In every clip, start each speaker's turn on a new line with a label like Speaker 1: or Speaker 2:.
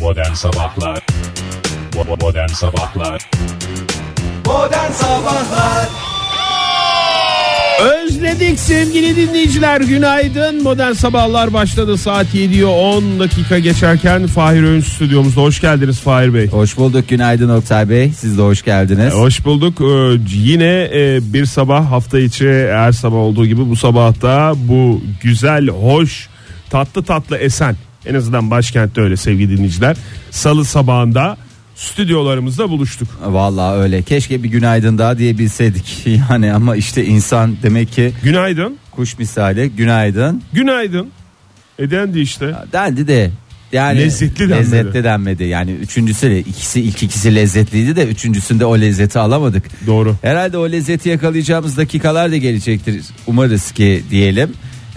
Speaker 1: Modern Sabahlar Bo- Modern Sabahlar
Speaker 2: Modern Sabahlar
Speaker 3: Özledik sevgili dinleyiciler günaydın modern sabahlar başladı saat 7'ye 10 dakika geçerken Fahir Öğünç stüdyomuzda hoş geldiniz Fahir Bey.
Speaker 2: Hoş bulduk günaydın Oktay Bey Siz de hoş geldiniz
Speaker 3: Hoş bulduk Ee, yine e, bir sabah hafta içi her sabah olduğu gibi bu sabahta bu güzel hoş tatlı tatlı esen en azından başkentte öyle sevgili dinleyiciler salı sabahında stüdyolarımızda buluştuk.
Speaker 2: Vallahi öyle keşke bir günaydın daha diyebilseydik Yani ama işte insan demek ki
Speaker 3: Günaydın
Speaker 2: kuş misali günaydın
Speaker 3: günaydın edendi işte.
Speaker 2: Dendi de yani
Speaker 3: Lezzetli denmedi.
Speaker 2: lezzetli denmedi. Yani üçüncüsü de ikisi ilk ikisi lezzetliydi de üçüncüsünde o lezzeti alamadık.
Speaker 3: Doğru.
Speaker 2: Herhalde o lezzeti yakalayacağımız dakikalar da gelecektir. Umarız ki diyelim.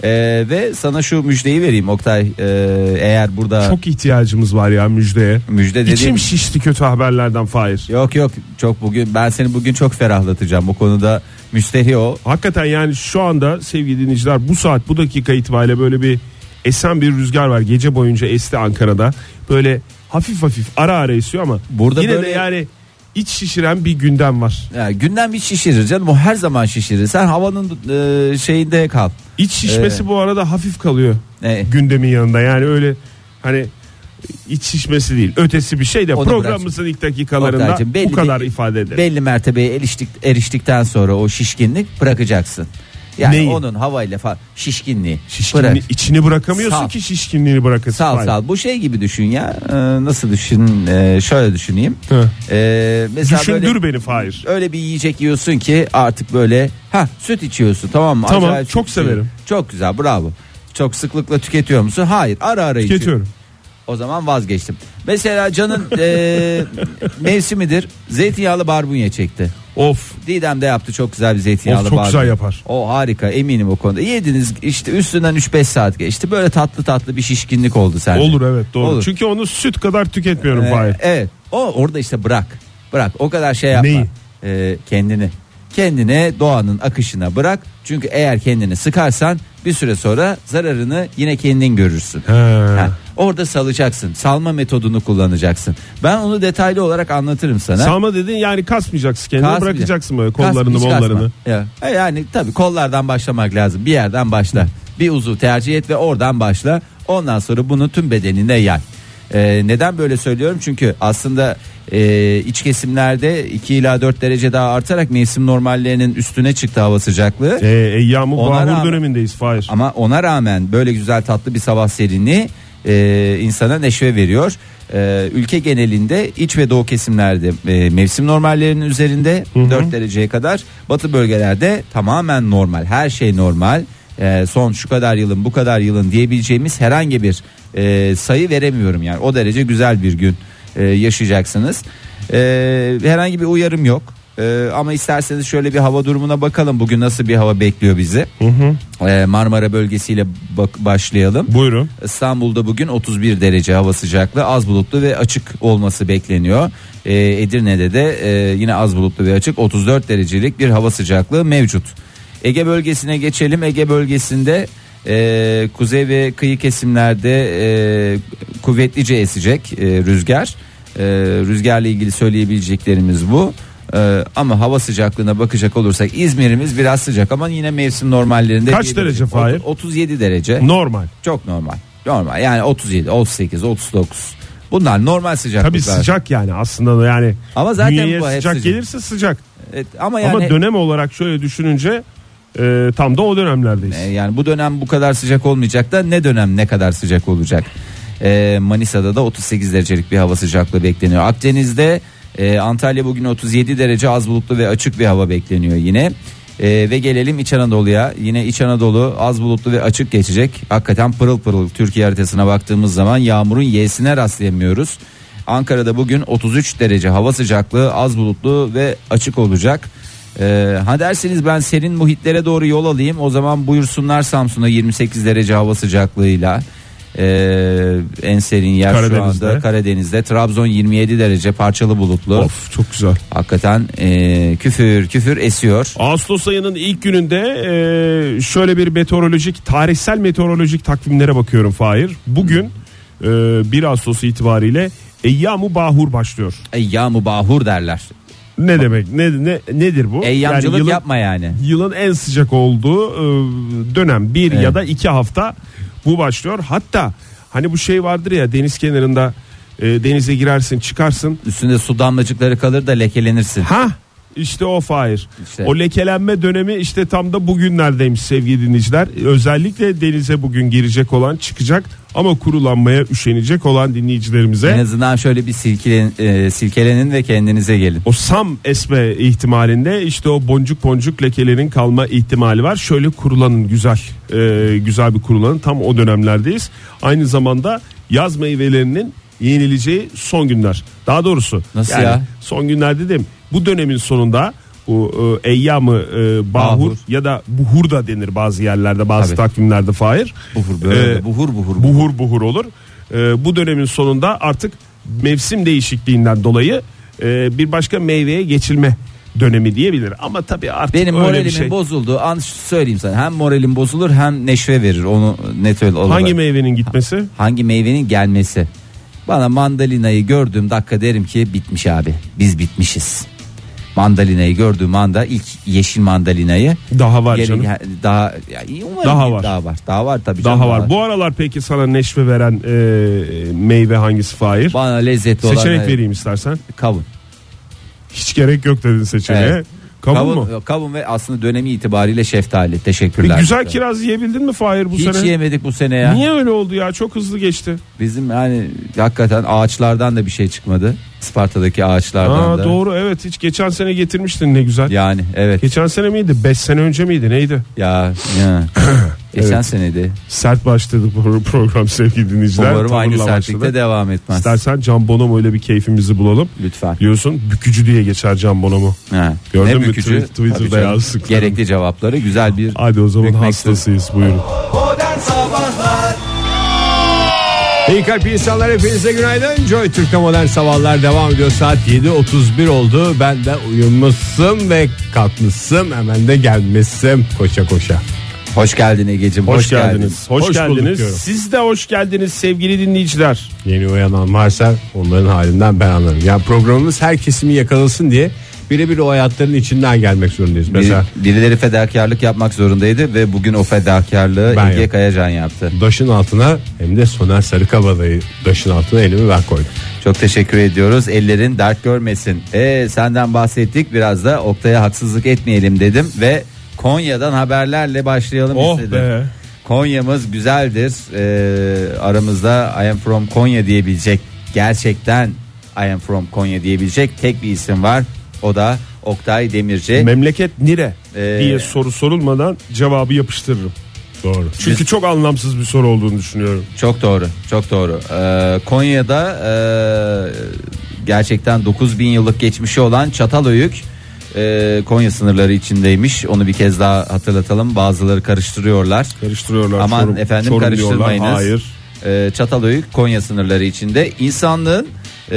Speaker 2: Ee, ve sana şu müjdeyi vereyim Oktay. Ee, eğer burada
Speaker 3: Çok ihtiyacımız var ya müjdeye.
Speaker 2: müjde dediğim
Speaker 3: İçim şişti kötü haberlerden Fahir.
Speaker 2: Yok yok çok bugün ben seni bugün çok ferahlatacağım bu konuda müstehio o.
Speaker 3: Hakikaten yani şu anda sevgili dinleyiciler bu saat bu dakika itibariyle böyle bir esen bir rüzgar var. Gece boyunca esti Ankara'da. Böyle hafif hafif ara ara esiyor ama
Speaker 2: Burada
Speaker 3: yine
Speaker 2: böyle-
Speaker 3: de yani iç şişiren bir gündem var.
Speaker 2: Yani gündem bir şişirir canım o her zaman şişirir sen havanın e, şeyinde kal.
Speaker 3: İç şişmesi
Speaker 2: Evet.
Speaker 3: bu arada hafif kalıyor
Speaker 2: E,
Speaker 3: gündemin yanında. Yani öyle hani iç şişmesi değil ötesi bir şey de
Speaker 2: Onu
Speaker 3: programımızın ilk dakikalarında
Speaker 2: Oktaycığım, belli
Speaker 3: bu kadar
Speaker 2: bir-
Speaker 3: ifade edelim.
Speaker 2: belli mertebeye eriştik, eriştikten sonra o şişkinlik bırakacaksın. Yani
Speaker 3: Neyi?
Speaker 2: onun havayla falan şişkinliği.
Speaker 3: Şişkinliği-
Speaker 2: Bırak.
Speaker 3: içini bırakamıyorsun
Speaker 2: Sal.
Speaker 3: ki şişkinliğini bırakasın.
Speaker 2: Sal
Speaker 3: Hayır.
Speaker 2: sal bu şey gibi düşün ya E, nasıl düşün E, şöyle düşüneyim.
Speaker 3: Hı.
Speaker 2: E, mesela böyle,
Speaker 3: Düşündür beni Fahir.
Speaker 2: öyle bir yiyecek yiyorsun ki artık böyle ha süt içiyorsun tamam mı?
Speaker 3: Tamam,
Speaker 2: Acayip
Speaker 3: çok
Speaker 2: süt içiyorum.
Speaker 3: severim.
Speaker 2: Çok güzel bravo. Çok sıklıkla tüketiyor musun? Hayır ara ara içiyorum.
Speaker 3: Tüketiyorum.
Speaker 2: O zaman vazgeçtim. Mesela canın e, mevsimidir zeytinyağlı barbunya çekti.
Speaker 3: Of.
Speaker 2: Didem de yaptı çok güzel bir zeytinyağlı
Speaker 3: Of, çok
Speaker 2: barbunya.
Speaker 3: güzel yapar.
Speaker 2: O harika eminim o konuda. Yediniz işte üstünden 3-5 saat geçti. Böyle tatlı tatlı bir şişkinlik oldu sende.
Speaker 3: Olur evet doğru.
Speaker 2: Olur.
Speaker 3: Çünkü onu süt kadar tüketmiyorum
Speaker 2: Ee,
Speaker 3: Fahir.
Speaker 2: evet. O orada işte bırak. Bırak. O kadar şey yapma.
Speaker 3: Neyi?
Speaker 2: Ee, kendini. Kendini doğanın akışına bırak. Çünkü eğer kendini sıkarsan bir süre sonra zararını yine kendin görürsün.
Speaker 3: He.
Speaker 2: Ha, orada salacaksın. Salma metodunu kullanacaksın. Ben onu detaylı olarak anlatırım sana.
Speaker 3: Salma dedin yani kasmayacaksın kendini
Speaker 2: Kasmayacak.
Speaker 3: bırakacaksın böyle
Speaker 2: Kasma,
Speaker 3: kollarını
Speaker 2: hiç
Speaker 3: mollarını.
Speaker 2: kasma. Ya. E Yani tabii kollardan başlamak lazım. Bir yerden başla. Bir uzuv tercih et ve oradan başla. Ondan sonra bunu tüm bedenine yay. E, neden böyle söylüyorum? Çünkü aslında e, iç kesimlerde 2 ila 4 derece daha artarak mevsim normallerinin üstüne çıktı hava sıcaklığı.
Speaker 3: Ee, Eyyam-ı
Speaker 2: Ona
Speaker 3: Bahur
Speaker 2: rağmen-
Speaker 3: dönemindeyiz Fahir.
Speaker 2: Ama ona rağmen böyle güzel tatlı bir sabah serini e, insana neşve veriyor. E, ülke genelinde iç ve doğu kesimlerde e, mevsim normallerinin üzerinde 4 dereceye kadar. Batı bölgelerde tamamen normal. Her şey normal. E, son şu kadar yılın bu kadar yılın diyebileceğimiz herhangi bir e, sayı veremiyorum yani. O derece güzel bir gün e, yaşayacaksınız. E, herhangi bir uyarım yok. E, ama isterseniz şöyle bir hava durumuna bakalım. Bugün nasıl bir hava bekliyor bizi? Ee, Marmara bölgesiyle bak- başlayalım.
Speaker 3: Buyurun.
Speaker 2: İstanbul'da bugün 31 derece hava sıcaklığı az bulutlu ve açık olması bekleniyor. Ee, Edirne'de de e, yine az bulutlu ve açık 34 derecelik bir hava sıcaklığı mevcut. Ege bölgesine geçelim. Ege bölgesinde e, kuzey ve kıyı kesimlerde e, kuvvetlice esecek e, rüzgar. E, rüzgarla ilgili söyleyebileceklerimiz bu. E, ama hava sıcaklığına bakacak olursak İzmir'imiz biraz sıcak ama yine mevsim normallerinde.
Speaker 3: Kaç
Speaker 2: diyebilirim.
Speaker 3: derece Fahir?
Speaker 2: 37 derece.
Speaker 3: Normal.
Speaker 2: Çok normal. Normal yani 37, 38, 39. Bunlar normal sıcaklıklar.
Speaker 3: Tabii sıcak yani aslında da yani.
Speaker 2: Ama zaten
Speaker 3: Dünyaya
Speaker 2: bu hep
Speaker 3: sıcak
Speaker 2: sıcak.
Speaker 3: gelirse sıcak.
Speaker 2: Evet, E, ama yani
Speaker 3: Ama dönem olarak şöyle düşününce e, tam da o dönemlerdeyiz.
Speaker 2: e, yani bu dönem bu kadar sıcak olmayacak da ne dönem ne kadar sıcak olacak. E, Manisa'da da 38 derecelik bir hava sıcaklığı bekleniyor. Akdeniz'de e, Antalya bugün 37 derece az bulutlu ve açık bir hava bekleniyor yine. E, ve gelelim İç Anadolu'ya. Yine İç Anadolu az bulutlu ve açık geçecek. Hakikaten pırıl pırıl Türkiye haritasına baktığımız zaman yağmurun yesine rastlayamıyoruz. Ankara'da bugün 33 derece hava sıcaklığı az bulutlu ve açık olacak. Ee, ha derseniz ben serin muhitlere doğru yol alayım o zaman buyursunlar Samsun'a 28 derece hava sıcaklığıyla. Ee, en serin yer şu
Speaker 3: Karadeniz'de.
Speaker 2: anda Karadeniz'de Trabzon 27 derece parçalı bulutlu
Speaker 3: Of çok güzel.
Speaker 2: hakikaten e, küfür küfür esiyor
Speaker 3: Ağustos ayının ilk gününde e, şöyle bir meteorolojik tarihsel meteorolojik takvimlere bakıyorum Fahir. Bugün e, 1 Ağustos itibariyle Eyyamu Bahur başlıyor.
Speaker 2: Eyyamu bahur derler.
Speaker 3: Ne demek? Ne, ne nedir bu?
Speaker 2: Eyyamcılık
Speaker 3: Yani yılın-
Speaker 2: yapma yani.
Speaker 3: Yılın en sıcak olduğu e, dönem bir ya da iki hafta bu başlıyor. Hatta hani bu şey vardır ya deniz kenarında e, denize girersin çıkarsın.
Speaker 2: Üstünde su damlacıkları kalır da lekelenirsin.
Speaker 3: Ha işte o Fahir.
Speaker 2: İşte.
Speaker 3: O lekelenme dönemi işte tam da bugünlerdeymiş sevgili dinleyiciler. Özellikle denize bugün girecek olan çıkacak ama kurulanmaya üşenecek olan dinleyicilerimize.
Speaker 2: En azından şöyle bir silkelen, e, silkelenin ve kendinize gelin.
Speaker 3: O sam esme ihtimalinde işte o boncuk boncuk lekelerin kalma ihtimali var. Şöyle kurulanın güzel e, güzel bir kurulanın tam o dönemlerdeyiz. Aynı zamanda yaz meyvelerinin yenileceği son günler. Daha doğrusu
Speaker 2: Nasıl ya?
Speaker 3: son günler dedim. Bu dönemin sonunda bu e, eyyamı e, bahur,
Speaker 2: Bahur.
Speaker 3: ya da buhur da denir bazı yerlerde bazı
Speaker 2: Tabii.
Speaker 3: takvimlerde Fahir.
Speaker 2: Buhur böyle,
Speaker 3: E,
Speaker 2: buhur buhur. buhur.
Speaker 3: buhur buhur olur. Ee, bu dönemin sonunda artık mevsim değişikliğinden dolayı e, bir başka meyveye geçilme dönemi diyebilir. Ama tabii artık
Speaker 2: Benim
Speaker 3: öyle bir
Speaker 2: moralimin
Speaker 3: şey.
Speaker 2: bozulduğu an söyleyeyim sana. Hem moralim bozulur hem neşve verir. Onu net öyle olarak.
Speaker 3: Hangi meyvenin gitmesi?
Speaker 2: Hangi meyvenin gelmesi? Bana mandalinayı gördüğüm dakika derim ki bitmiş abi. Biz bitmişiz. Mandalinayı gördüğüm anda ilk yeşil mandalinayı
Speaker 3: Daha var
Speaker 2: Gelin-
Speaker 3: canım.
Speaker 2: daha yani umarım
Speaker 3: Daha
Speaker 2: bir-
Speaker 3: var.
Speaker 2: Daha var. Daha var tabii canım,
Speaker 3: Daha var. Bu aralar peki sana neşve veren e, meyve hangisi Fahir?
Speaker 2: Bana lezzetli olan
Speaker 3: Seçenek vereyim istersen.
Speaker 2: kavun.
Speaker 3: Hiç gerek yok dedin seçeneğe.
Speaker 2: Evet.
Speaker 3: Kavun, mu?
Speaker 2: Kavun ve aslında dönemi itibariyle şeftali.
Speaker 3: Bir
Speaker 2: Teşekkürler.
Speaker 3: güzel kiraz yiyebildin mi Fahir bu
Speaker 2: şey. Hiç
Speaker 3: sene?
Speaker 2: yemedik bu sene ya.
Speaker 3: Niye öyle oldu ya? Çok hızlı geçti.
Speaker 2: Bizim yani hakikaten ağaçlardan da bir şey çıkmadı. Isparta'daki ağaçlardan
Speaker 3: Aa,
Speaker 2: da.
Speaker 3: doğru evet hiç geçen sene getirmiştin ne güzel.
Speaker 2: Yani evet.
Speaker 3: Geçen sene miydi? 5 sene önce miydi? Neydi?
Speaker 2: Ya, ya. geçen senedi.
Speaker 3: Sert başladı bu program sevgili dinleyiciler.
Speaker 2: Umarım aynı
Speaker 3: Tavırla
Speaker 2: sertlikte
Speaker 3: başladı.
Speaker 2: devam etmez.
Speaker 3: İstersen Can Bonomo ile bir keyfimizi bulalım.
Speaker 2: Lütfen.
Speaker 3: Biliyorsun bükücü diye geçer Can Bonomo.
Speaker 2: Ha.
Speaker 3: Gördün mü?
Speaker 2: bükücü?
Speaker 3: Twi- Twitter'da
Speaker 2: Tabii canım.
Speaker 3: yazdıklarını.
Speaker 2: Gerekli cevapları güzel bir
Speaker 3: Hadi o zaman
Speaker 2: Bükmek
Speaker 3: hastasıyız buyurun.
Speaker 4: İyi kalp insanlar hepinize günaydın. Joy Türk'te modern sabahlar devam ediyor. Saat 7.31 oldu. Ben de uyumuşsun ve kalkmışsın. Hemen de gelmişsin koşa koşa.
Speaker 2: Hoş geldin Ege'cim.
Speaker 3: Hoş, geldiniz. Hoş,
Speaker 4: Hoş bulduk
Speaker 3: geldiniz.
Speaker 4: diyorum.
Speaker 3: Siz de hoş geldiniz sevgili dinleyiciler.
Speaker 4: Yeni uyanan varsa onların halinden ben anlarım. Yani programımız her kesimi yakalasın diye birebir o hayatların içinden gelmek zorundayız. Mesela
Speaker 2: Bir- birileri fedakarlık yapmak zorundaydı ve bugün o fedakarlığı
Speaker 4: Ben
Speaker 2: Ege
Speaker 4: yaptım.
Speaker 2: Kayacan yaptı.
Speaker 4: daşın altına hem de Soner Sarıkabadayı daşın altına elimi ben koydum.
Speaker 2: Çok teşekkür ediyoruz. Ellerin dert görmesin. Ee, senden bahsettik. Biraz da Oktay'a haksızlık etmeyelim dedim ve Konya'dan haberlerle başlayalım
Speaker 3: Oh
Speaker 2: istedim.
Speaker 3: be.
Speaker 2: Konya'mız güzeldir. Ee, aramızda I am from Konya diyebilecek gerçekten I am from Konya diyebilecek tek bir isim var. O da Oktay Demirci.
Speaker 3: Memleket nire
Speaker 2: Ee,
Speaker 3: diye soru sorulmadan cevabı yapıştırırım.
Speaker 4: Doğru.
Speaker 3: Çünkü çok anlamsız bir soru olduğunu düşünüyorum.
Speaker 2: Çok doğru, çok doğru. Ee, Konya'da e, gerçekten 9000 yıllık geçmişi olan Çatalhöyük e, Konya sınırları içindeymiş. Onu bir kez daha hatırlatalım. Bazıları karıştırıyorlar.
Speaker 3: Karıştırıyorlar.
Speaker 2: Aman
Speaker 3: Çorum-
Speaker 2: efendim
Speaker 3: Çorum diyorlar.
Speaker 2: karıştırmayınız.
Speaker 3: Hayır.
Speaker 2: Ee, Çatalhöyük Konya sınırları içinde insanlığın e,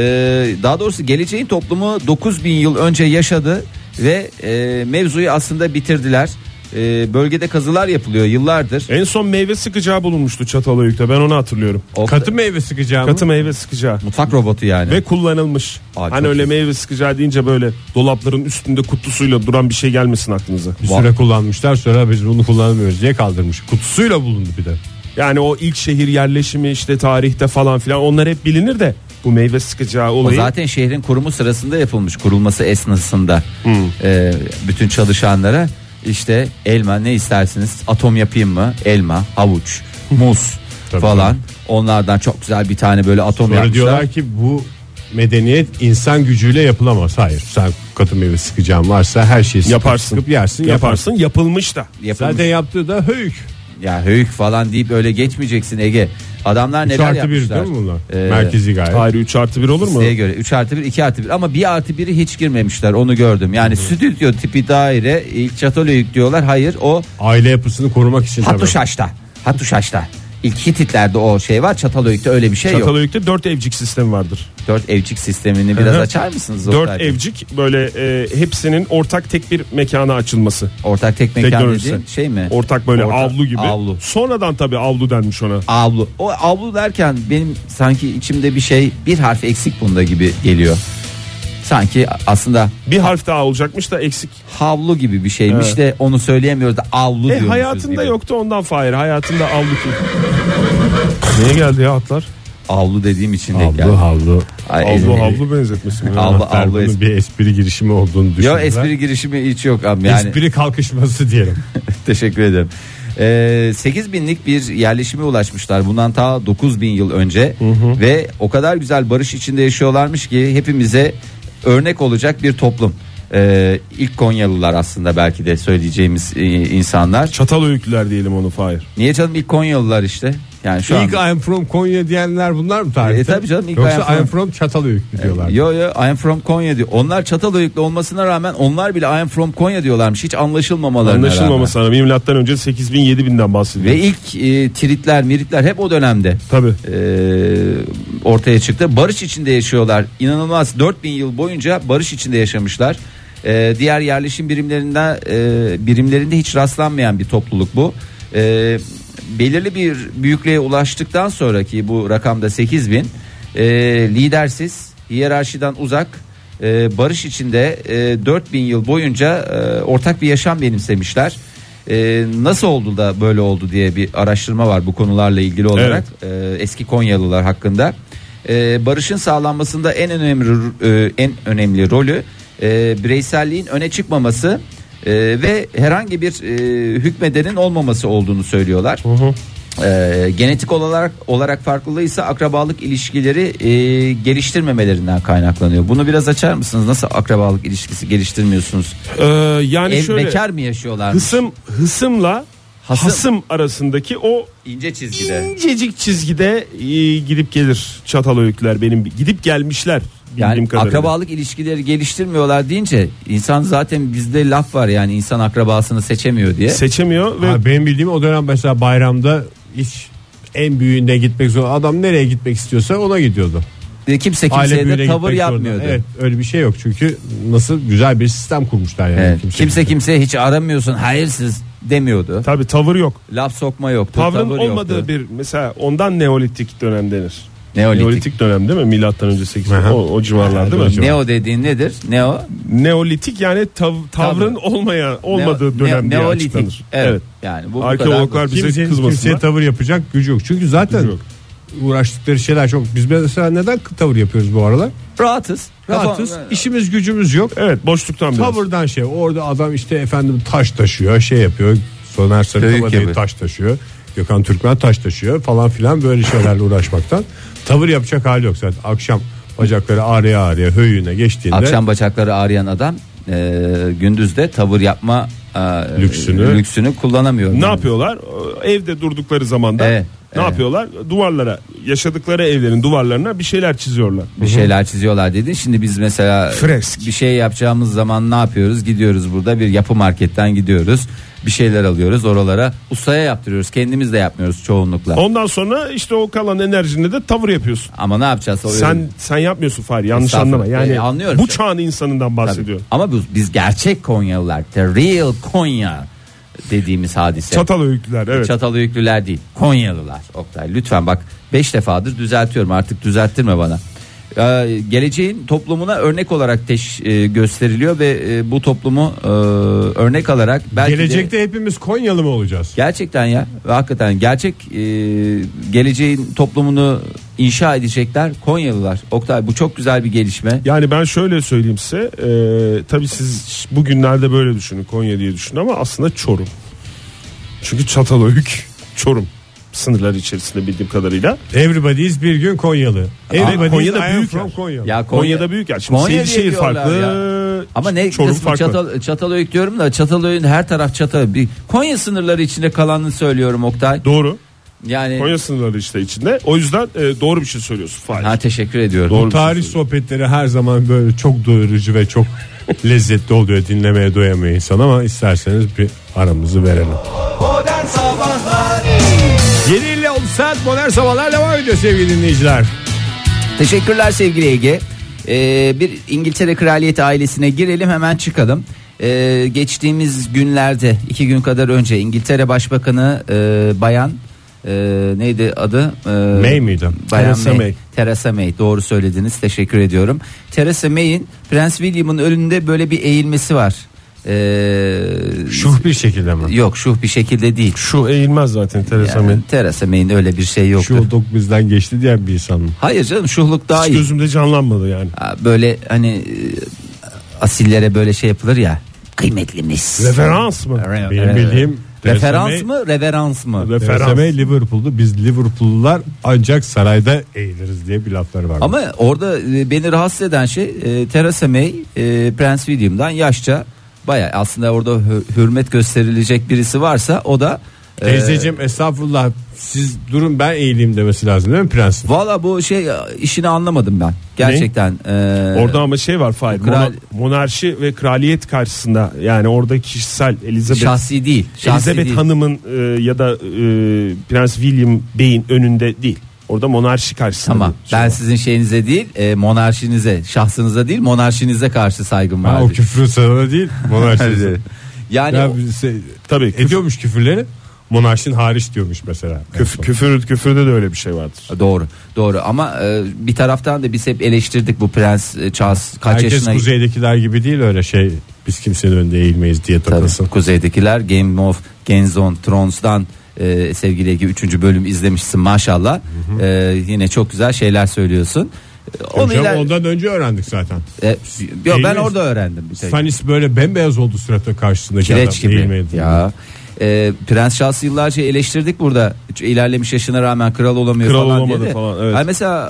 Speaker 2: daha doğrusu geleceğin toplumu 9000 yıl önce yaşadı ve e, mevzuyu aslında bitirdiler. E, bölgede kazılar yapılıyor yıllardır.
Speaker 3: En son meyve sıkacağı bulunmuştu Çatalhöyük'te. Ben onu hatırlıyorum.
Speaker 2: Oktay-
Speaker 4: Katı meyve sıkacağım.
Speaker 3: Katı meyve sıkacağı.
Speaker 2: mutfak robotu yani.
Speaker 3: Ve kullanılmış.
Speaker 2: Aa, çok
Speaker 3: hani öyle
Speaker 2: iyi.
Speaker 3: meyve sıkacağı deyince böyle dolapların üstünde kutusuyla duran bir şey gelmesin aklınıza.
Speaker 4: Bir süre kullanmışlar sonra biz bunu kullanamıyoruz diye kaldırmış. Kutusuyla bulundu bir de.
Speaker 3: Yani o ilk şehir yerleşimi işte tarihte falan filan onlar hep bilinir de bu meyve sıkacağı
Speaker 2: O
Speaker 3: olayı.
Speaker 2: zaten şehrin kurumu sırasında yapılmış kurulması esnasında Ee, bütün çalışanlara işte elma ne istersiniz atom yapayım mı elma havuç muz
Speaker 4: Tabii
Speaker 2: falan onlardan çok güzel bir tane böyle atom
Speaker 4: Sonra
Speaker 2: yapmışlar.
Speaker 4: diyorlar ki bu medeniyet insan gücüyle yapılamaz. Hayır sen katı meyve sıkacağın varsa her şeyi sıkıp
Speaker 3: Yaparsın.
Speaker 4: sıkıp yersin. Yaparsın.
Speaker 3: yaparsın yapılmış da.
Speaker 2: Yapılmış.
Speaker 4: Zaten yaptığı da höyük.
Speaker 2: ya höyük falan deyip öyle geçmeyeceksin Ege. Adamlar
Speaker 4: 3
Speaker 2: neler
Speaker 4: artı 1
Speaker 2: yapmışlar.
Speaker 4: değil mi bunlar?
Speaker 2: Ee,
Speaker 4: Merkezi gayet.
Speaker 3: Tarih 3 artı 1 olur mu?
Speaker 2: Listeye göre 3 artı 1 2 artı 1 ama 1 artı 1'i hiç girmemişler onu gördüm. Yani stüdyo tipi daire ilk çatolöyük diyorlar hayır o
Speaker 4: Aile yapısını korumak için tabii.
Speaker 2: Hatuşaş'ta. Hatuşaş'ta. İlk Hititlerde o şey var. Çatalhöyük'te öyle bir şey yok.
Speaker 3: Çatalhöyük'te dört evcik sistemi vardır.
Speaker 2: Dört evcik sistemini biraz
Speaker 3: Hı hı.
Speaker 2: açar mısınız?
Speaker 3: Dört
Speaker 2: Oktay Bey?
Speaker 3: evcik böyle e, hepsinin ortak tek bir mekana açılması.
Speaker 2: Ortak tek mekan
Speaker 3: Teknolojisi.
Speaker 2: dediğin şey mi?
Speaker 3: Ortak böyle
Speaker 2: Ortak-
Speaker 3: avlu gibi.
Speaker 2: Avlu.
Speaker 3: Sonradan tabii avlu denmiş ona.
Speaker 2: Avlu. O avlu derken benim sanki içimde bir şey bir harf eksik bunda gibi geliyor. Sanki aslında
Speaker 3: Bir harf daha olacakmış da eksik. E,
Speaker 2: havlu gibi bir şeymiş
Speaker 3: Evet.
Speaker 2: de onu söyleyemiyoruz da avlu
Speaker 3: E,
Speaker 2: diyormuşuz
Speaker 3: hayatında
Speaker 2: gibi.
Speaker 3: yoktu ondan Fahir. Hayatında avlu ki. Niye geldi ya atlar?
Speaker 2: Avlu dediğim için denk geldi.
Speaker 4: Havlu havlu.
Speaker 2: Ay,
Speaker 3: Avlu
Speaker 2: elimi-
Speaker 3: havlu benzetmesi mi?
Speaker 2: Avlu
Speaker 4: Hatta
Speaker 2: avlu
Speaker 4: bunun
Speaker 2: espri.
Speaker 4: bir espri girişimi olduğunu düşündüler.
Speaker 2: Yo espri girişimi hiç yok abi yani.
Speaker 4: Espri kalkışması diyelim.
Speaker 2: Teşekkür ederim. Ee, 8 binlik bir yerleşime ulaşmışlar bundan ta 9 bin yıl önce ve o kadar güzel barış içinde yaşıyorlarmış ki hepimize örnek olacak bir toplum. Ee, ilk Konyalılar aslında belki de söyleyeceğimiz e, insanlar.
Speaker 3: Çatal öyküler diyelim onu Fahir.
Speaker 2: Niye canım ilk Konyalılar işte? Yani şu
Speaker 4: ilk
Speaker 2: an.
Speaker 4: I'm from Konya diyenler bunlar mı tarihte?
Speaker 2: E, tabii canım, ilk
Speaker 4: Yoksa
Speaker 2: I
Speaker 4: I'm
Speaker 2: am
Speaker 4: from,
Speaker 2: from- E,
Speaker 4: Çatalhöyük mü diyorlar?
Speaker 2: Yo yo I am from Konya diyor. Onlar Çatalhöyük'lü olmasına rağmen onlar bile I am from Konya diyorlarmış. Hiç anlaşılmamalarına rağmen.
Speaker 3: Anlaşılmaması sana milattan önce 8000 7000'den bahsediyor.
Speaker 2: Ve ilk e, tiritler miritler hep o dönemde.
Speaker 3: Tabii.
Speaker 2: e, ortaya çıktı. Barış içinde yaşıyorlar. İnanılmaz 4000 yıl boyunca barış içinde yaşamışlar. E, diğer yerleşim birimlerinde e, birimlerinde hiç rastlanmayan bir topluluk bu. E, belirli bir büyüklüğe ulaştıktan sonraki bu rakamda 8000 e, lidersiz, hiyerarşiden uzak e, barış içinde e, 4000 yıl boyunca e, ortak bir yaşam benimsemişler. E, nasıl oldu da böyle oldu diye bir araştırma var bu konularla ilgili olarak e, eski Konyalılar hakkında. E, barışın sağlanmasında en önemli e, en önemli rolü e, bireyselliğin öne çıkmaması e, ve herhangi bir e, hükmedenin olmaması olduğunu söylüyorlar. E, genetik olarak olarak farklılığı ise akrabalık ilişkileri e, geliştirmemelerinden kaynaklanıyor. Bunu biraz açar mısınız? Nasıl akrabalık ilişkisi geliştirmiyorsunuz?
Speaker 3: Ee, yani
Speaker 2: Ev
Speaker 3: şöyle
Speaker 2: bekar mı yaşıyorlar?
Speaker 3: hısım hısımla
Speaker 2: Hasım.
Speaker 3: hasım arasındaki o
Speaker 2: İnce çizgide.
Speaker 3: incecik çizgide e, gidip gelir çatal öyküler benim gidip gelmişler bildiğim
Speaker 2: Yani
Speaker 3: kadarıyla.
Speaker 2: akrabalık ilişkileri geliştirmiyorlar deyince insan zaten bizde laf var yani insan akrabasını seçemiyor diye.
Speaker 3: seçemiyor ve
Speaker 4: Ha, benim bildiğim o dönem mesela bayramda hiç en büyüğünde gitmek zorunda. Adam nereye gitmek istiyorsa ona gidiyordu.
Speaker 2: E, Kimse
Speaker 4: Aile
Speaker 2: kimseye de
Speaker 4: büyüğüne
Speaker 2: tavır
Speaker 4: gitmek zorunda.
Speaker 2: yapmıyordu.
Speaker 4: Evet öyle bir şey yok çünkü nasıl güzel bir sistem kurmuşlar yani.
Speaker 2: Evet.
Speaker 4: Kimse,
Speaker 2: Kimse kimseye hiç aramıyorsun hayırsız demiyordu.
Speaker 3: tabi tavır yok.
Speaker 2: Laf sokma yoktu.
Speaker 3: Tavrın
Speaker 2: tavır
Speaker 3: olmadığı
Speaker 2: yoktu.
Speaker 3: bir mesela ondan neolitik dönem denir.
Speaker 2: Neolitik.
Speaker 3: Neolitik şey dönem değil mi? Milattan önce 80
Speaker 4: Aha.
Speaker 3: o, o civarlar değil mi?
Speaker 4: Neolitik.
Speaker 2: Neo dediğin nedir? Neo?
Speaker 3: Neolitik yani tav- tavrın olmayan olmadığı
Speaker 2: Neo-
Speaker 3: dönem diye
Speaker 2: Neolitik.
Speaker 3: açıklanır.
Speaker 2: Evet.
Speaker 3: Evet.
Speaker 2: Yani bu, bu
Speaker 3: Arkeologlar
Speaker 2: kadar.
Speaker 3: bize
Speaker 4: Kimsenin
Speaker 3: kızmasınlar.
Speaker 4: kimseye tavır yapacak gücü yok. Çünkü zaten
Speaker 3: Gücü yok.
Speaker 4: uğraştıkları şeyler çok. Biz mesela neden tavır yapıyoruz bu aralar?
Speaker 2: Rahatız.
Speaker 4: Rahatız.
Speaker 2: Kafam-
Speaker 4: işimiz gücümüz yok.
Speaker 3: Evet boşluktan biraz.
Speaker 4: Tavırdan şey orada adam işte efendim taş taşıyor şey yapıyor Soner Sarıkama
Speaker 2: Büyük
Speaker 4: diye
Speaker 2: yapı.
Speaker 4: taş taşıyor Gökhan Türkmen taş taşıyor falan filan böyle şeylerle uğraşmaktan tavır yapacak hali yok zaten akşam bacakları ağrıya ağrıya höyüğüne geçtiğinde
Speaker 2: Akşam bacakları ağrıyan adam e, gündüzde tavır yapma e,
Speaker 4: Lüksünü-
Speaker 2: lüksünü kullanamıyor.
Speaker 3: Ne
Speaker 2: Yani.
Speaker 3: yapıyorlar? Ee, Evde durdukları zaman da
Speaker 2: Evet,
Speaker 3: ne
Speaker 2: evet.
Speaker 3: yapıyorlar? Duvarlara, yaşadıkları evlerin duvarlarına bir şeyler çiziyorlar.
Speaker 2: bir şeyler çiziyorlar dedin. Şimdi biz mesela
Speaker 3: Fresk.
Speaker 2: bir şey yapacağımız zaman ne yapıyoruz? Gidiyoruz burada bir yapı marketten gidiyoruz. Bir şeyler alıyoruz oralara. Ustaya yaptırıyoruz. Kendimiz de yapmıyoruz çoğunlukla.
Speaker 3: Ondan sonra işte o kalan enerjinle de tavır yapıyorsun.
Speaker 2: Ama ne yapacağız? O-
Speaker 3: Sen sen yapmıyorsun Fahri yanlış
Speaker 2: Estağfurullah.
Speaker 3: anlama. Yani
Speaker 2: E, anlıyorum.
Speaker 3: bu çağın insanından
Speaker 2: Tabii.
Speaker 3: bahsediyor.
Speaker 2: Ama biz, biz gerçek Konyalılar. The real Konya dediğimiz hadise.
Speaker 3: Çatal öyküler evet.
Speaker 2: Çatalhöyüklüler değil Konyalılar Oktay lütfen bak 5 defadır düzeltiyorum artık düzelttirme bana Ee, geleceğin toplumuna örnek olarak teş, e, gösteriliyor ve e, bu toplumu e, örnek alarak belki de-
Speaker 4: gelecekte hepimiz Konyalı mı olacağız?
Speaker 2: gerçekten ya ve hakikaten gerçek e, geleceğin toplumunu inşa edecekler Konyalılar Oktay bu çok güzel bir gelişme
Speaker 3: Yani ben şöyle söyleyeyim size. E, tabii siz bugünlerde böyle düşünün Konya diye düşünün ama aslında Çorum. Çünkü Çatalhöyük Çorum sınırları içerisinde bildiğim kadarıyla.
Speaker 4: Everybody's bir gün Konyalı. Everybody's
Speaker 3: Konya'da
Speaker 4: I am
Speaker 3: büyük
Speaker 4: from
Speaker 3: yer.
Speaker 4: Konya.
Speaker 2: ya
Speaker 3: Konya'da büyük yer. Şimdi
Speaker 2: Konya diye
Speaker 3: Seydişehir
Speaker 2: diyorlar
Speaker 3: farklı.
Speaker 2: ya. Ama ne
Speaker 3: Çorum
Speaker 2: kısmı
Speaker 3: farklı.
Speaker 2: Çatal, Çatalhöyük diyorum da Çatalhöyük'ün her taraf çata bir Konya sınırları içinde kalanını söylüyorum Oktay.
Speaker 3: Doğru.
Speaker 2: Yani
Speaker 3: Konya sınırları işte içinde. O yüzden e, doğru bir şey söylüyorsun Fahir.
Speaker 2: ha teşekkür ediyorum.
Speaker 3: Doğru.
Speaker 4: Bu tarih sohbetleri her zaman böyle çok doyurucu ve çok lezzetli oluyor dinlemeye doyamıyor insan ama isterseniz bir aramızı verelim. 7.58 saat modern sabahlar devam ediyor sevgili dinleyiciler.
Speaker 2: Teşekkürler sevgili Ege. Ee, bir İngiltere Kraliyeti ailesine girelim hemen çıkalım. Ee, geçtiğimiz günlerde iki gün kadar önce İngiltere Başbakanı e, Bayan e, neydi adı? E,
Speaker 4: May miydi?
Speaker 2: Bayan
Speaker 3: Theresa
Speaker 2: May.
Speaker 3: May.
Speaker 2: Theresa May doğru söylediniz teşekkür ediyorum. Theresa May'in Prens William'ın önünde böyle bir eğilmesi var. Ee,
Speaker 4: Şuh bir şekilde mi?
Speaker 2: Yok şuh bir şekilde değil.
Speaker 3: Şu eğilmez zaten Theresa May.
Speaker 2: Yani, Theresa May'in öyle bir şey yoktu.
Speaker 4: Şu dok bizden geçti diyen bir insan mı?
Speaker 2: Hayır canım şuhluk daha
Speaker 3: Hiç
Speaker 2: iyi.
Speaker 3: gözümde canlanmadı yani.
Speaker 2: Ha, böyle hani e, asillere böyle şey yapılır ya kıymetlimiz.
Speaker 3: Referans mı?
Speaker 2: Re-
Speaker 4: Benim
Speaker 2: re-
Speaker 4: bildiğim Theresa
Speaker 2: referans
Speaker 3: May-
Speaker 2: mı reverans mı?
Speaker 3: Referans.
Speaker 4: Referans. Liverpool'du. Biz Liverpool'lular ancak sarayda eğiliriz diye bir lafları var.
Speaker 2: Ama orada e, beni rahatsız eden şey e, Theresa May e, Prens William'dan yaşça baya aslında orada hü- hürmet gösterilecek birisi varsa o da e,
Speaker 4: Teyzeciğim estağfurullah siz durun ben eğileyim demesi lazım değil mi prensin?
Speaker 2: Valla bu şey e, işini anlamadım ben. Gerçekten. e,
Speaker 3: Orada ama şey var Fahir.
Speaker 2: Kral-
Speaker 3: mona- monarşi ve kraliyet karşısında yani orada kişisel Elizabeth
Speaker 2: şahsi değil. Şahsi
Speaker 3: Elizabeth
Speaker 2: değil.
Speaker 3: Hanım'ın e, ya da e, Prens William Bey'in önünde değil. Orada monarşi karşısında.
Speaker 2: Tamam.
Speaker 3: bir şey
Speaker 2: Ben
Speaker 3: var.
Speaker 2: sizin şeyinize değil, e, monarşinize, şahsınıza değil, monarşinize karşı saygım
Speaker 4: Ha, o
Speaker 2: var.
Speaker 4: küfrü sana değil monarşi.
Speaker 2: Yani
Speaker 4: ya,
Speaker 2: Hani o-
Speaker 4: bir şey-
Speaker 3: Tabii küfür,
Speaker 4: ediyormuş küfürleri monarşin hariç diyormuş mesela.
Speaker 3: küfür, küfür- küfürde de öyle bir şey vardır.
Speaker 2: doğru. Doğru ama e, bir taraftan da biz hep eleştirdik bu prens e, Charles kaç
Speaker 4: Herkes
Speaker 2: yaşına
Speaker 4: kuzeydekiler gibi değil öyle şey biz kimsenin önünde eğilmeyiz diye
Speaker 2: Tabii,
Speaker 4: takılsın.
Speaker 2: kuzeydekiler Game of Games on Thrones'dan e, sevgili Ege 3. bölüm izlemişsin maşallah. E, yine çok güzel şeyler söylüyorsun. E, Onu
Speaker 4: Hocam
Speaker 2: iler-
Speaker 4: ondan önce öğrendik zaten.
Speaker 2: E, yo, ben
Speaker 4: Eğilmez.
Speaker 2: orada öğrendim bir tek.
Speaker 4: Stanis böyle bembeyaz oldu suratı karşısındaki
Speaker 2: Kireç
Speaker 4: adam.
Speaker 2: gibi.
Speaker 4: eğilmedi.
Speaker 2: Ya. E, Prens Charles'ı yıllarca eleştirdik burada. Hiç İlerlemiş yaşına rağmen kral olamıyor
Speaker 3: Kral
Speaker 2: falan
Speaker 3: olamadı
Speaker 2: diye de.
Speaker 3: falan, evet.
Speaker 2: Ay mesela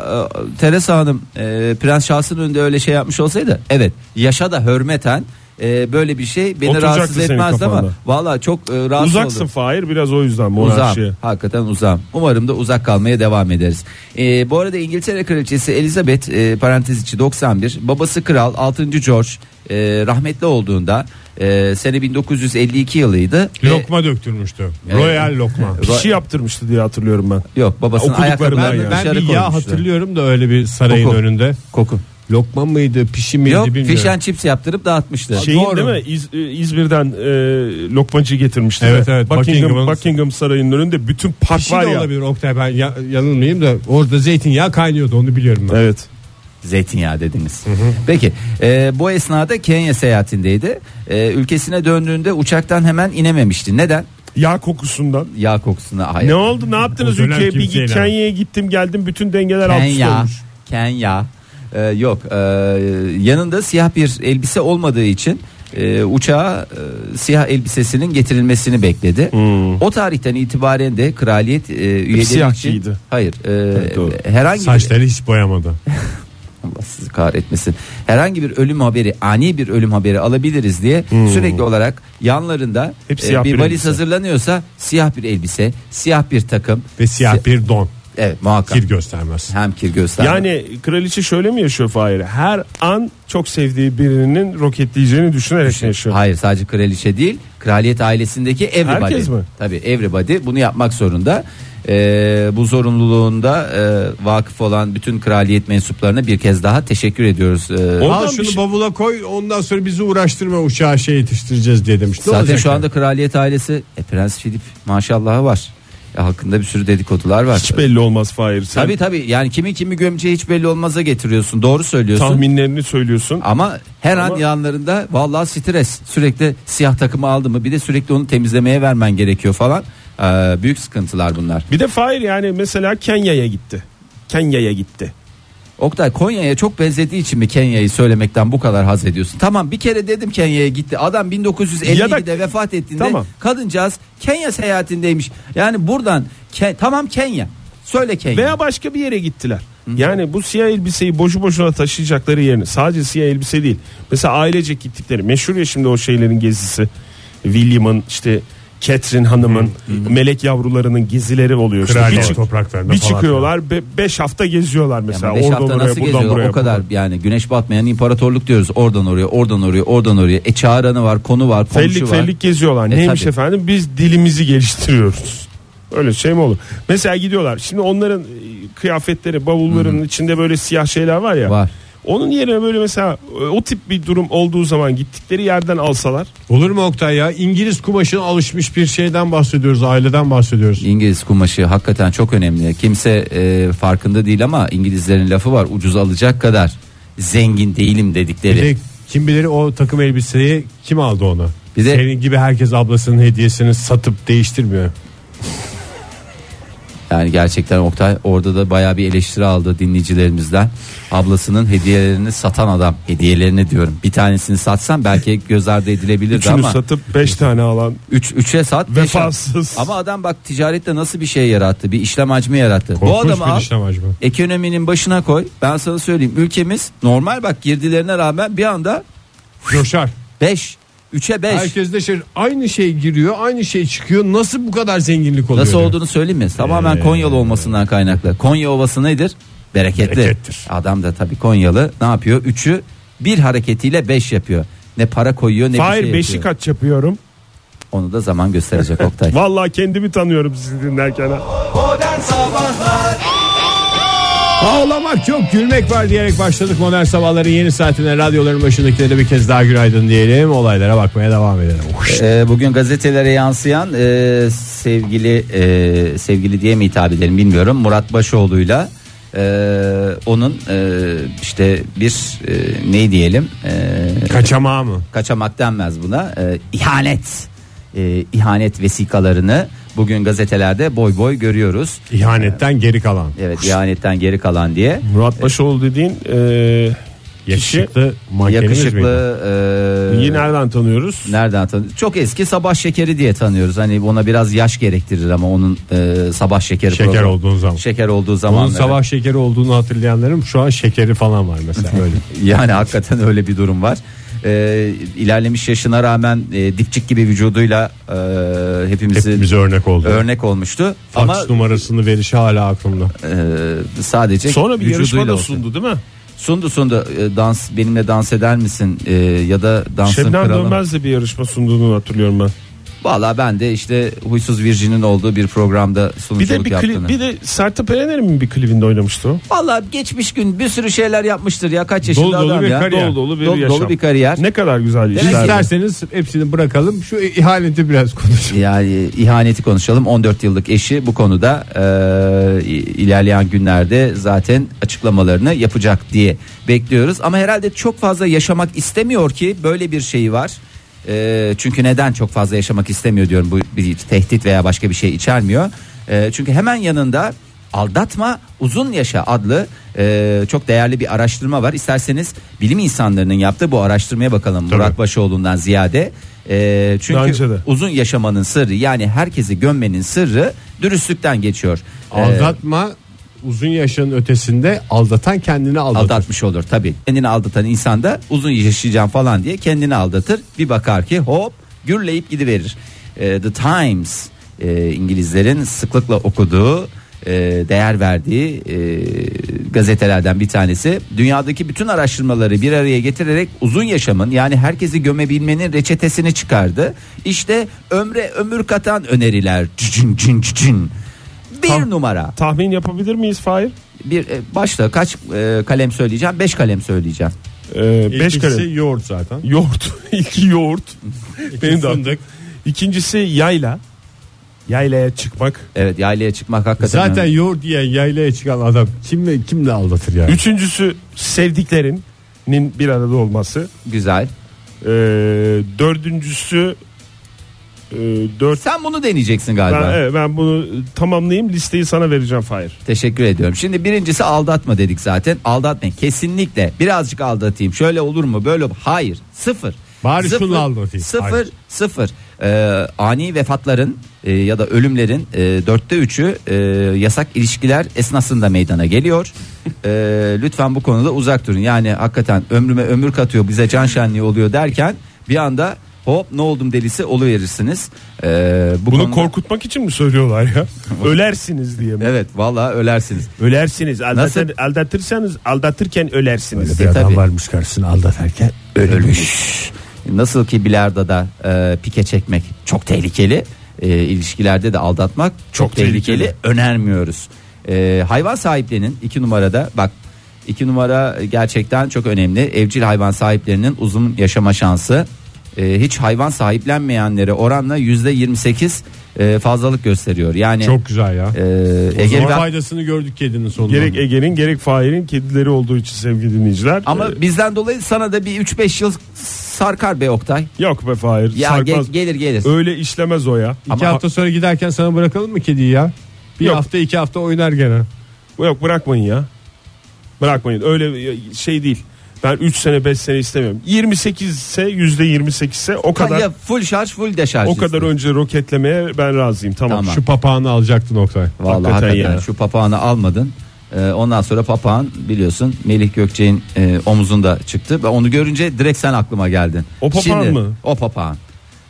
Speaker 2: e, Teresa Hanım e, Prens Charles'ın önünde öyle şey yapmış olsaydı evet yaşa da hürmeten e, böyle bir şey beni
Speaker 3: Oturacaktı
Speaker 2: rahatsız
Speaker 3: senin
Speaker 2: etmezdi ama
Speaker 3: kafanda.
Speaker 2: valla çok e, rahatsız
Speaker 3: Uzaksın
Speaker 2: oldum.
Speaker 3: Fahir biraz o yüzden monarşiye.
Speaker 2: Uzağım. Hakikaten uzağım. Umarım da uzak kalmaya devam ederiz. E, bu arada İngiltere Kraliçesi Elizabeth e, parantez içi 91 babası kral 6. George e, rahmetli olduğunda e, sene 1952 yılıydı. E, Ve-
Speaker 4: Lokma döktürmüştü.
Speaker 2: E,
Speaker 4: Royal lokma.
Speaker 3: Bir şey yaptırmıştı diye hatırlıyorum ben.
Speaker 2: Yok babasının
Speaker 3: Okuduklarımdan
Speaker 2: ayakkabılarını
Speaker 3: ya.
Speaker 4: Ben
Speaker 2: dışarı
Speaker 4: bir
Speaker 2: koymuşlar.
Speaker 4: yağ hatırlıyorum da öyle bir sarayın
Speaker 2: Koku.
Speaker 4: önünde.
Speaker 2: Koku.
Speaker 4: Lokma mıydı pişi miydi
Speaker 2: Yok
Speaker 4: bilmiyorum. Şey-
Speaker 2: fish and chips yaptırıp dağıtmıştı.
Speaker 3: Şeyin
Speaker 4: doğru.
Speaker 3: değil mi İz- e, İzmir'den e, lokmacı getirmişti.
Speaker 4: Evet,
Speaker 3: de.
Speaker 4: evet,
Speaker 3: Buckingham,
Speaker 4: Buckingham'ın-
Speaker 3: Buckingham Sarayı'nın önünde bütün park
Speaker 4: Pişi
Speaker 3: var
Speaker 4: de
Speaker 3: ya.
Speaker 4: olabilir Oktay ben ya- yanılmayayım da orada zeytinyağı kaynıyordu onu biliyorum ben.
Speaker 3: Evet.
Speaker 2: Zeytinyağı dediniz. Peki e, bu esnada Kenya seyahatindeydi. E, ülkesine döndüğünde uçaktan hemen inememişti. Neden?
Speaker 3: Yağ kokusundan.
Speaker 2: Yağ kokusuna hayır.
Speaker 3: Ne oldu? Ne yaptınız
Speaker 4: O dönem
Speaker 3: ülkeye? Bir
Speaker 4: kimseyle.
Speaker 3: git Kenya'ya gittim geldim bütün dengeler alt üst
Speaker 2: Kenya.
Speaker 3: olmuş.
Speaker 2: Kenya. E, yok e, yanında siyah bir elbise olmadığı için e, uçağa e, siyah elbisesinin getirilmesini bekledi. O tarihten itibaren de kraliyet e, üyeleri
Speaker 3: siyah
Speaker 2: için
Speaker 3: giydi.
Speaker 2: hayır e,
Speaker 3: doğru.
Speaker 2: herhangi bir
Speaker 4: Saçları hiç boyamadı.
Speaker 2: Allah sizi kahretmesin. Herhangi bir ölüm haberi, ani bir ölüm haberi alabiliriz diye sürekli olarak yanlarında
Speaker 3: Hep
Speaker 2: e,
Speaker 3: siyah
Speaker 2: bir
Speaker 3: bir
Speaker 2: valiz
Speaker 3: elbise.
Speaker 2: hazırlanıyorsa siyah bir elbise, siyah bir takım
Speaker 4: Ve siyah
Speaker 2: Si-
Speaker 4: bir don.
Speaker 2: evet muhakkak
Speaker 4: Kir göstermez.
Speaker 2: hem kir göster.
Speaker 3: Yani kraliçe şöyle mi yaşıyor Fahir? Her an çok sevdiği birinin roketleyeceğini düşünerek mi yaşıyor?
Speaker 2: Hayır sadece kraliçe değil kraliyet ailesindeki everybody.
Speaker 3: Herkes mi?
Speaker 2: Tabii everybody bunu yapmak zorunda. Ee, bu zorunluluğunda e, vakıf olan bütün kraliyet mensuplarına bir kez daha teşekkür ediyoruz. Ee,
Speaker 3: O-
Speaker 4: Al
Speaker 3: Oradan
Speaker 4: şunu
Speaker 3: bir şey-
Speaker 4: bavula koy ondan sonra bizi uğraştırma uçağa şey yetiştireceğiz diye demiş. Ne
Speaker 2: Zaten
Speaker 4: olacak
Speaker 2: şu
Speaker 4: yani?
Speaker 2: anda kraliyet ailesi e, Prens Philip maşallahı var. E, hakkında bir sürü dedikodular var.
Speaker 3: Hiç belli olmaz Fahir. Sen
Speaker 2: Tabii tabii yani kimi kimi gömceği hiç belli olmaza getiriyorsun. Doğru söylüyorsun.
Speaker 3: tahminlerini söylüyorsun.
Speaker 2: Ama her an
Speaker 3: Ama-
Speaker 2: yanlarında vallahi stres. Sürekli siyah takımı aldı mı bir de sürekli onu temizlemeye vermen gerekiyor falan. Ee, büyük sıkıntılar bunlar.
Speaker 3: Bir de Fahir yani mesela Kenya'ya gitti. Kenya'ya gitti.
Speaker 2: Oktay Konya'ya çok benzediği için mi Kenya'yı söylemekten bu kadar haz ediyorsun? Tamam bir kere dedim Kenya'ya gitti. Adam
Speaker 3: Ya
Speaker 2: 1957'de
Speaker 3: da-
Speaker 2: vefat ettiğinde
Speaker 3: Tamam.
Speaker 2: kadıncağız Kenya seyahatindeymiş. Yani buradan Ke- tamam Kenya. Söyle Kenya.
Speaker 3: Veya başka bir yere gittiler. Yani bu siyah elbiseyi boşu boşuna taşıyacakları yerine sadece siyah elbise değil. Mesela ailecek gittikleri meşhur ya şimdi o şeylerin gezisi. William'ın işte Catherine Hanım'ın melek yavrularının gezileri oluyor. İşte
Speaker 4: Kraliyet
Speaker 3: bir, çık-
Speaker 4: topraklarında
Speaker 3: bir
Speaker 4: falan.
Speaker 3: çıkıyorlar 5 hafta geziyorlar
Speaker 2: Yani
Speaker 3: mesela.
Speaker 2: beş
Speaker 3: Oradan
Speaker 2: hafta
Speaker 3: oraya,
Speaker 2: nasıl
Speaker 3: buradan
Speaker 2: geziyorlar?
Speaker 3: buraya,
Speaker 2: o kadar yani güneş batmayan imparatorluk diyoruz. Oradan oraya, oradan oraya, oradan oraya. E çağıranı var, konu var, komşu
Speaker 3: Fellik
Speaker 2: var.
Speaker 3: fellik geziyorlar.
Speaker 2: E,
Speaker 3: Neymiş
Speaker 2: tabii.
Speaker 3: efendim? Biz dilimizi geliştiriyoruz. Öyle şey mi olur? Mesela gidiyorlar. Şimdi onların e, kıyafetleri, bavullarının içinde böyle siyah şeyler var ya.
Speaker 2: Var.
Speaker 3: Onun yerine böyle mesela e, o tip bir durum olduğu zaman gittikleri yerden alsalar.
Speaker 4: Olur mu Oktay ya? İngiliz kumaşına alışmış bir şeyden bahsediyoruz, aileden bahsediyoruz.
Speaker 2: İngiliz kumaşı hakikaten çok önemli. Kimse e, farkında değil ama İngilizlerin lafı var ucuz alacak kadar zengin değilim
Speaker 4: Bir
Speaker 2: dedikleri.
Speaker 4: de kim bilir o takım elbiseyi kim aldı ona?
Speaker 2: Bir de-
Speaker 4: Senin gibi herkes ablasının hediyesini satıp değiştirmiyor.
Speaker 2: Yani gerçekten Oktay orada da bayağı bir eleştiri aldı dinleyicilerimizden. Ablasının hediyelerini satan adam. Hediyelerini diyorum. Bir tanesini satsan belki göz ardı edilebilirdi
Speaker 3: Üçünü
Speaker 2: ama.
Speaker 3: satıp beş tane alan.
Speaker 2: 3 3'e sat. beşe-
Speaker 3: Vefasız.
Speaker 2: Ama adam bak ticarette nasıl bir şey yarattı? Bir işlem hacmi yarattı. Bu
Speaker 4: Korkunç
Speaker 2: adamı
Speaker 4: bir
Speaker 2: al.
Speaker 4: işlem acaba.
Speaker 2: Ekonominin başına koy. Ben sana söyleyeyim. Ülkemiz normal bak girdilerine rağmen bir anda
Speaker 4: Coşar.
Speaker 2: 5 3'e 5
Speaker 4: Herkes de şey, aynı şey giriyor, aynı şey çıkıyor. Nasıl bu kadar zenginlik oluyor?
Speaker 2: Nasıl
Speaker 4: diyor. Ee,
Speaker 2: olduğunu söyleyeyim mi? Tamamen Konyalı olmasından kaynaklı. Konya Ovası nedir? Bereketli.
Speaker 4: Berekettir.
Speaker 2: Adam da tabii Konyalı ne yapıyor? Üçü bir hareketiyle beş yapıyor. Ne para koyuyor ne
Speaker 3: Hayır
Speaker 2: bir şey
Speaker 3: beşi
Speaker 2: yapıyor.
Speaker 3: kaç yapıyorum.
Speaker 2: Onu da zaman gösterecek Oktay.
Speaker 3: Vallahi kendimi tanıyorum sizi dinlerken. ha.
Speaker 4: Ağlamak yok gülmek var diyerek başladık modern sabahların yeni saatine radyoların başındakilere bir kez daha günaydın diyelim olaylara bakmaya devam edelim. Huş.
Speaker 2: Ee, bugün gazetelere yansıyan e, sevgili e, sevgili diye mi hitap edelim bilmiyorum Murat Başoğlu'yla e, onun e, işte bir e, ne diyelim e,
Speaker 4: Kaçamağı mı?
Speaker 2: kaçamak denmez buna e, ihanet e, ihanet vesikalarını bugün gazetelerde boy boy görüyoruz.
Speaker 4: İhanetten geri kalan.
Speaker 2: Evet ihanetten geri kalan diye.
Speaker 3: Murat Başoğlu dediğin e, kişi.
Speaker 4: Yakışıklı mankenimiz miydi?
Speaker 2: Yakışıklı e,
Speaker 3: Yine nereden tanıyoruz?
Speaker 2: nereden tanıyoruz? Çok eski sabah şekeri diye tanıyoruz. Hani ona biraz yaş gerektirir ama onun e, sabah şekeri
Speaker 4: Şeker
Speaker 2: programı-
Speaker 4: olduğun zaman.
Speaker 2: Şeker olduğu zaman.
Speaker 4: Onun
Speaker 2: evet.
Speaker 4: sabah şekeri olduğunu hatırlayanlarım şu an şekeri falan var mesela böyle.
Speaker 2: Yani hakikaten öyle bir durum var. E, ilerlemiş yaşına rağmen e, dipçik gibi vücuduyla e, hepimizi
Speaker 4: Hepimize örnek oldu.
Speaker 2: örnek olmuştu.
Speaker 4: Fax
Speaker 2: ama
Speaker 4: numarasını verişi hala aklımda.
Speaker 2: Ee, sadece
Speaker 3: Sonra bir
Speaker 2: vücuduyla
Speaker 3: yarışma da
Speaker 2: olsun.
Speaker 3: sundu değil mi?
Speaker 2: Sundu sundu Ee, dans benimle dans eder misin Ee, ya da dansın
Speaker 3: Şebnem
Speaker 2: kralı. mı?
Speaker 3: Dönmez de bir yarışma sunduğunu hatırlıyorum ben.
Speaker 2: Valla ben de işte huysuz virjinin olduğu bir programda
Speaker 3: Bir
Speaker 2: sunuculuk
Speaker 3: de bir
Speaker 2: yaptığını.
Speaker 3: klip, bir de Sertab Erener'in bir klibinde oynamıştı o.
Speaker 2: Valla geçmiş gün bir sürü şeyler yapmıştır ya
Speaker 3: E
Speaker 2: kaç yaşında
Speaker 4: Dolu dolu
Speaker 2: adam
Speaker 4: bir
Speaker 2: ya.
Speaker 4: kariyer.
Speaker 3: Dolu dolu bir
Speaker 2: Dolu-
Speaker 3: yaşam.
Speaker 2: dolu bir kariyer.
Speaker 3: Ne kadar güzel işler.
Speaker 4: İsterseniz hepsini bırakalım şu ihaneti biraz konuşalım.
Speaker 2: Yani ihaneti konuşalım 14 yıllık eşi bu konuda e, ilerleyen günlerde zaten açıklamalarını yapacak diye bekliyoruz. Ama herhalde çok fazla yaşamak istemiyor ki böyle bir şeyi var. E, çünkü neden çok fazla yaşamak istemiyor diyorum bu bir tehdit veya başka bir şey içermiyor. E, çünkü hemen yanında Aldatma Uzun Yaşa adlı e, çok değerli bir araştırma var. İsterseniz bilim insanlarının yaptığı bu araştırmaya bakalım Murat Başoğlu'ndan ziyade. E, çünkü
Speaker 3: Bence de.
Speaker 2: uzun yaşamanın sırrı yani herkesi gömmenin sırrı dürüstlükten geçiyor. Ee,
Speaker 4: Aldatma uzun yaşının ötesinde aldatan kendini aldatır.
Speaker 2: aldatmış olur tabi. Kendini aldatan insan da uzun yaşayacağım falan diye kendini aldatır. Bir bakar ki hop gürleyip gidiverir. Ee, The Times e, İngilizlerin sıklıkla okuduğu e, değer verdiği e, gazetelerden bir tanesi dünyadaki bütün araştırmaları bir araya getirerek uzun yaşamın yani herkesi gömebilmenin reçetesini çıkardı. İşte ömre ömür katan öneriler. Cicin, cin, cicin. Bir
Speaker 3: Tam-
Speaker 2: numara.
Speaker 3: Tahmin yapabilir miyiz Fahir?
Speaker 2: Bir e, başla kaç e, kalem söyleyeceğim? 5 kalem söyleyeceğim.
Speaker 3: Ee, beş
Speaker 4: İlkisi
Speaker 3: kare.
Speaker 4: yoğurt zaten.
Speaker 3: Yoğurt. İki yoğurt. Benim de.
Speaker 4: fındık.
Speaker 3: İkincisi yayla. Yaylaya çıkmak.
Speaker 2: Evet yaylaya çıkmak hakikaten.
Speaker 4: Zaten
Speaker 2: önemli.
Speaker 4: yoğurt diye yaylaya çıkan adam kimle kimle aldatır yani?
Speaker 3: Üçüncüsü sevdiklerinin bir arada olması.
Speaker 2: güzel.
Speaker 3: Ee, dördüncüsü e, dört.
Speaker 2: Sen bunu deneyeceksin galiba.
Speaker 3: Ben, evet, ben bunu tamamlayayım listeyi sana vereceğim Fahir.
Speaker 2: Teşekkür ediyorum. Şimdi birincisi aldatma dedik zaten. Aldatmayın kesinlikle. Birazcık aldatayım. Şöyle olur mu? Böyle olur mu? Hayır. Sıfır.
Speaker 4: Bari
Speaker 2: sıfır,
Speaker 4: şunla aldatayım.
Speaker 2: Sıfır.
Speaker 4: Hayır.
Speaker 2: Sıfır. Ee, ani vefatların e, ya da ölümlerin e, dörtte üçü e, yasak ilişkiler esnasında meydana geliyor. Ee, lütfen bu konuda uzak durun. Yani hakikaten ömrüme ömür katıyor bize can şenliği oluyor derken bir anda hop ne oldum delisi oluverirsiniz. Ee, bu
Speaker 3: Bunu
Speaker 2: konuda-
Speaker 3: korkutmak için mi söylüyorlar ya? Ölersiniz diye mi?
Speaker 2: Evet vallahi ölersiniz.
Speaker 3: Ölersiniz. Aldatır,
Speaker 2: Nasıl?
Speaker 3: aldatırsanız aldatırken ölersiniz.
Speaker 2: E, tabii.
Speaker 4: varmış karşısına aldatarken
Speaker 2: Nasıl ki bilardoda e, pike çekmek çok tehlikeli. e, ilişkilerde de aldatmak çok,
Speaker 3: Çok
Speaker 2: tehlikeli.
Speaker 3: tehlikeli.
Speaker 2: önermiyoruz. E, hayvan sahiplerinin iki numarada bak iki numara gerçekten çok önemli. Evcil hayvan sahiplerinin uzun yaşama şansı e, hiç hayvan sahiplenmeyenlere oranla yüzde 28 e, fazlalık gösteriyor. Yani
Speaker 4: Çok güzel ya.
Speaker 2: e,
Speaker 4: O
Speaker 2: Ege
Speaker 4: zaman
Speaker 2: ben-
Speaker 4: faydasını gördük kedinin sonunda.
Speaker 3: Gerek Ege'nin gerek Fahir'in kedileri olduğu için sevgili dinleyiciler.
Speaker 2: ama
Speaker 3: Ee,
Speaker 2: bizden dolayı sana da bir 3-5 yıl sarkar be Oktay.
Speaker 3: yok be Fahir.
Speaker 2: Ya
Speaker 3: sarkmaz.
Speaker 2: ge- gelir gelir.
Speaker 3: Öyle işlemez o ya.
Speaker 4: İki
Speaker 2: Ama-
Speaker 4: hafta sonra giderken sana bırakalım mı kediyi ya? Bir
Speaker 3: Yok.
Speaker 4: hafta iki hafta oynar gene.
Speaker 3: Yok bırakmayın ya. Bırakmayın. Öyle şey değil. Ben 3 sene 5 sene istemiyorum. 28 ise %28 ise o kadar
Speaker 2: Ya full şarj full deşarj.
Speaker 3: o kadar
Speaker 2: istedim.
Speaker 3: önce roketlemeye ben razıyım. Tamam.
Speaker 2: Tamam.
Speaker 4: Şu papağanı alacaktın Oktay.
Speaker 2: Vallahi
Speaker 3: Hakikaten
Speaker 2: hakikaten,
Speaker 3: ya.
Speaker 2: şu papağanı almadın. Ee, ondan sonra papağan biliyorsun Melih Gökçe'nin e, omuzunda çıktı. Ve onu görünce direkt sen aklıma geldin.
Speaker 3: O papağan mı?
Speaker 2: O papağan.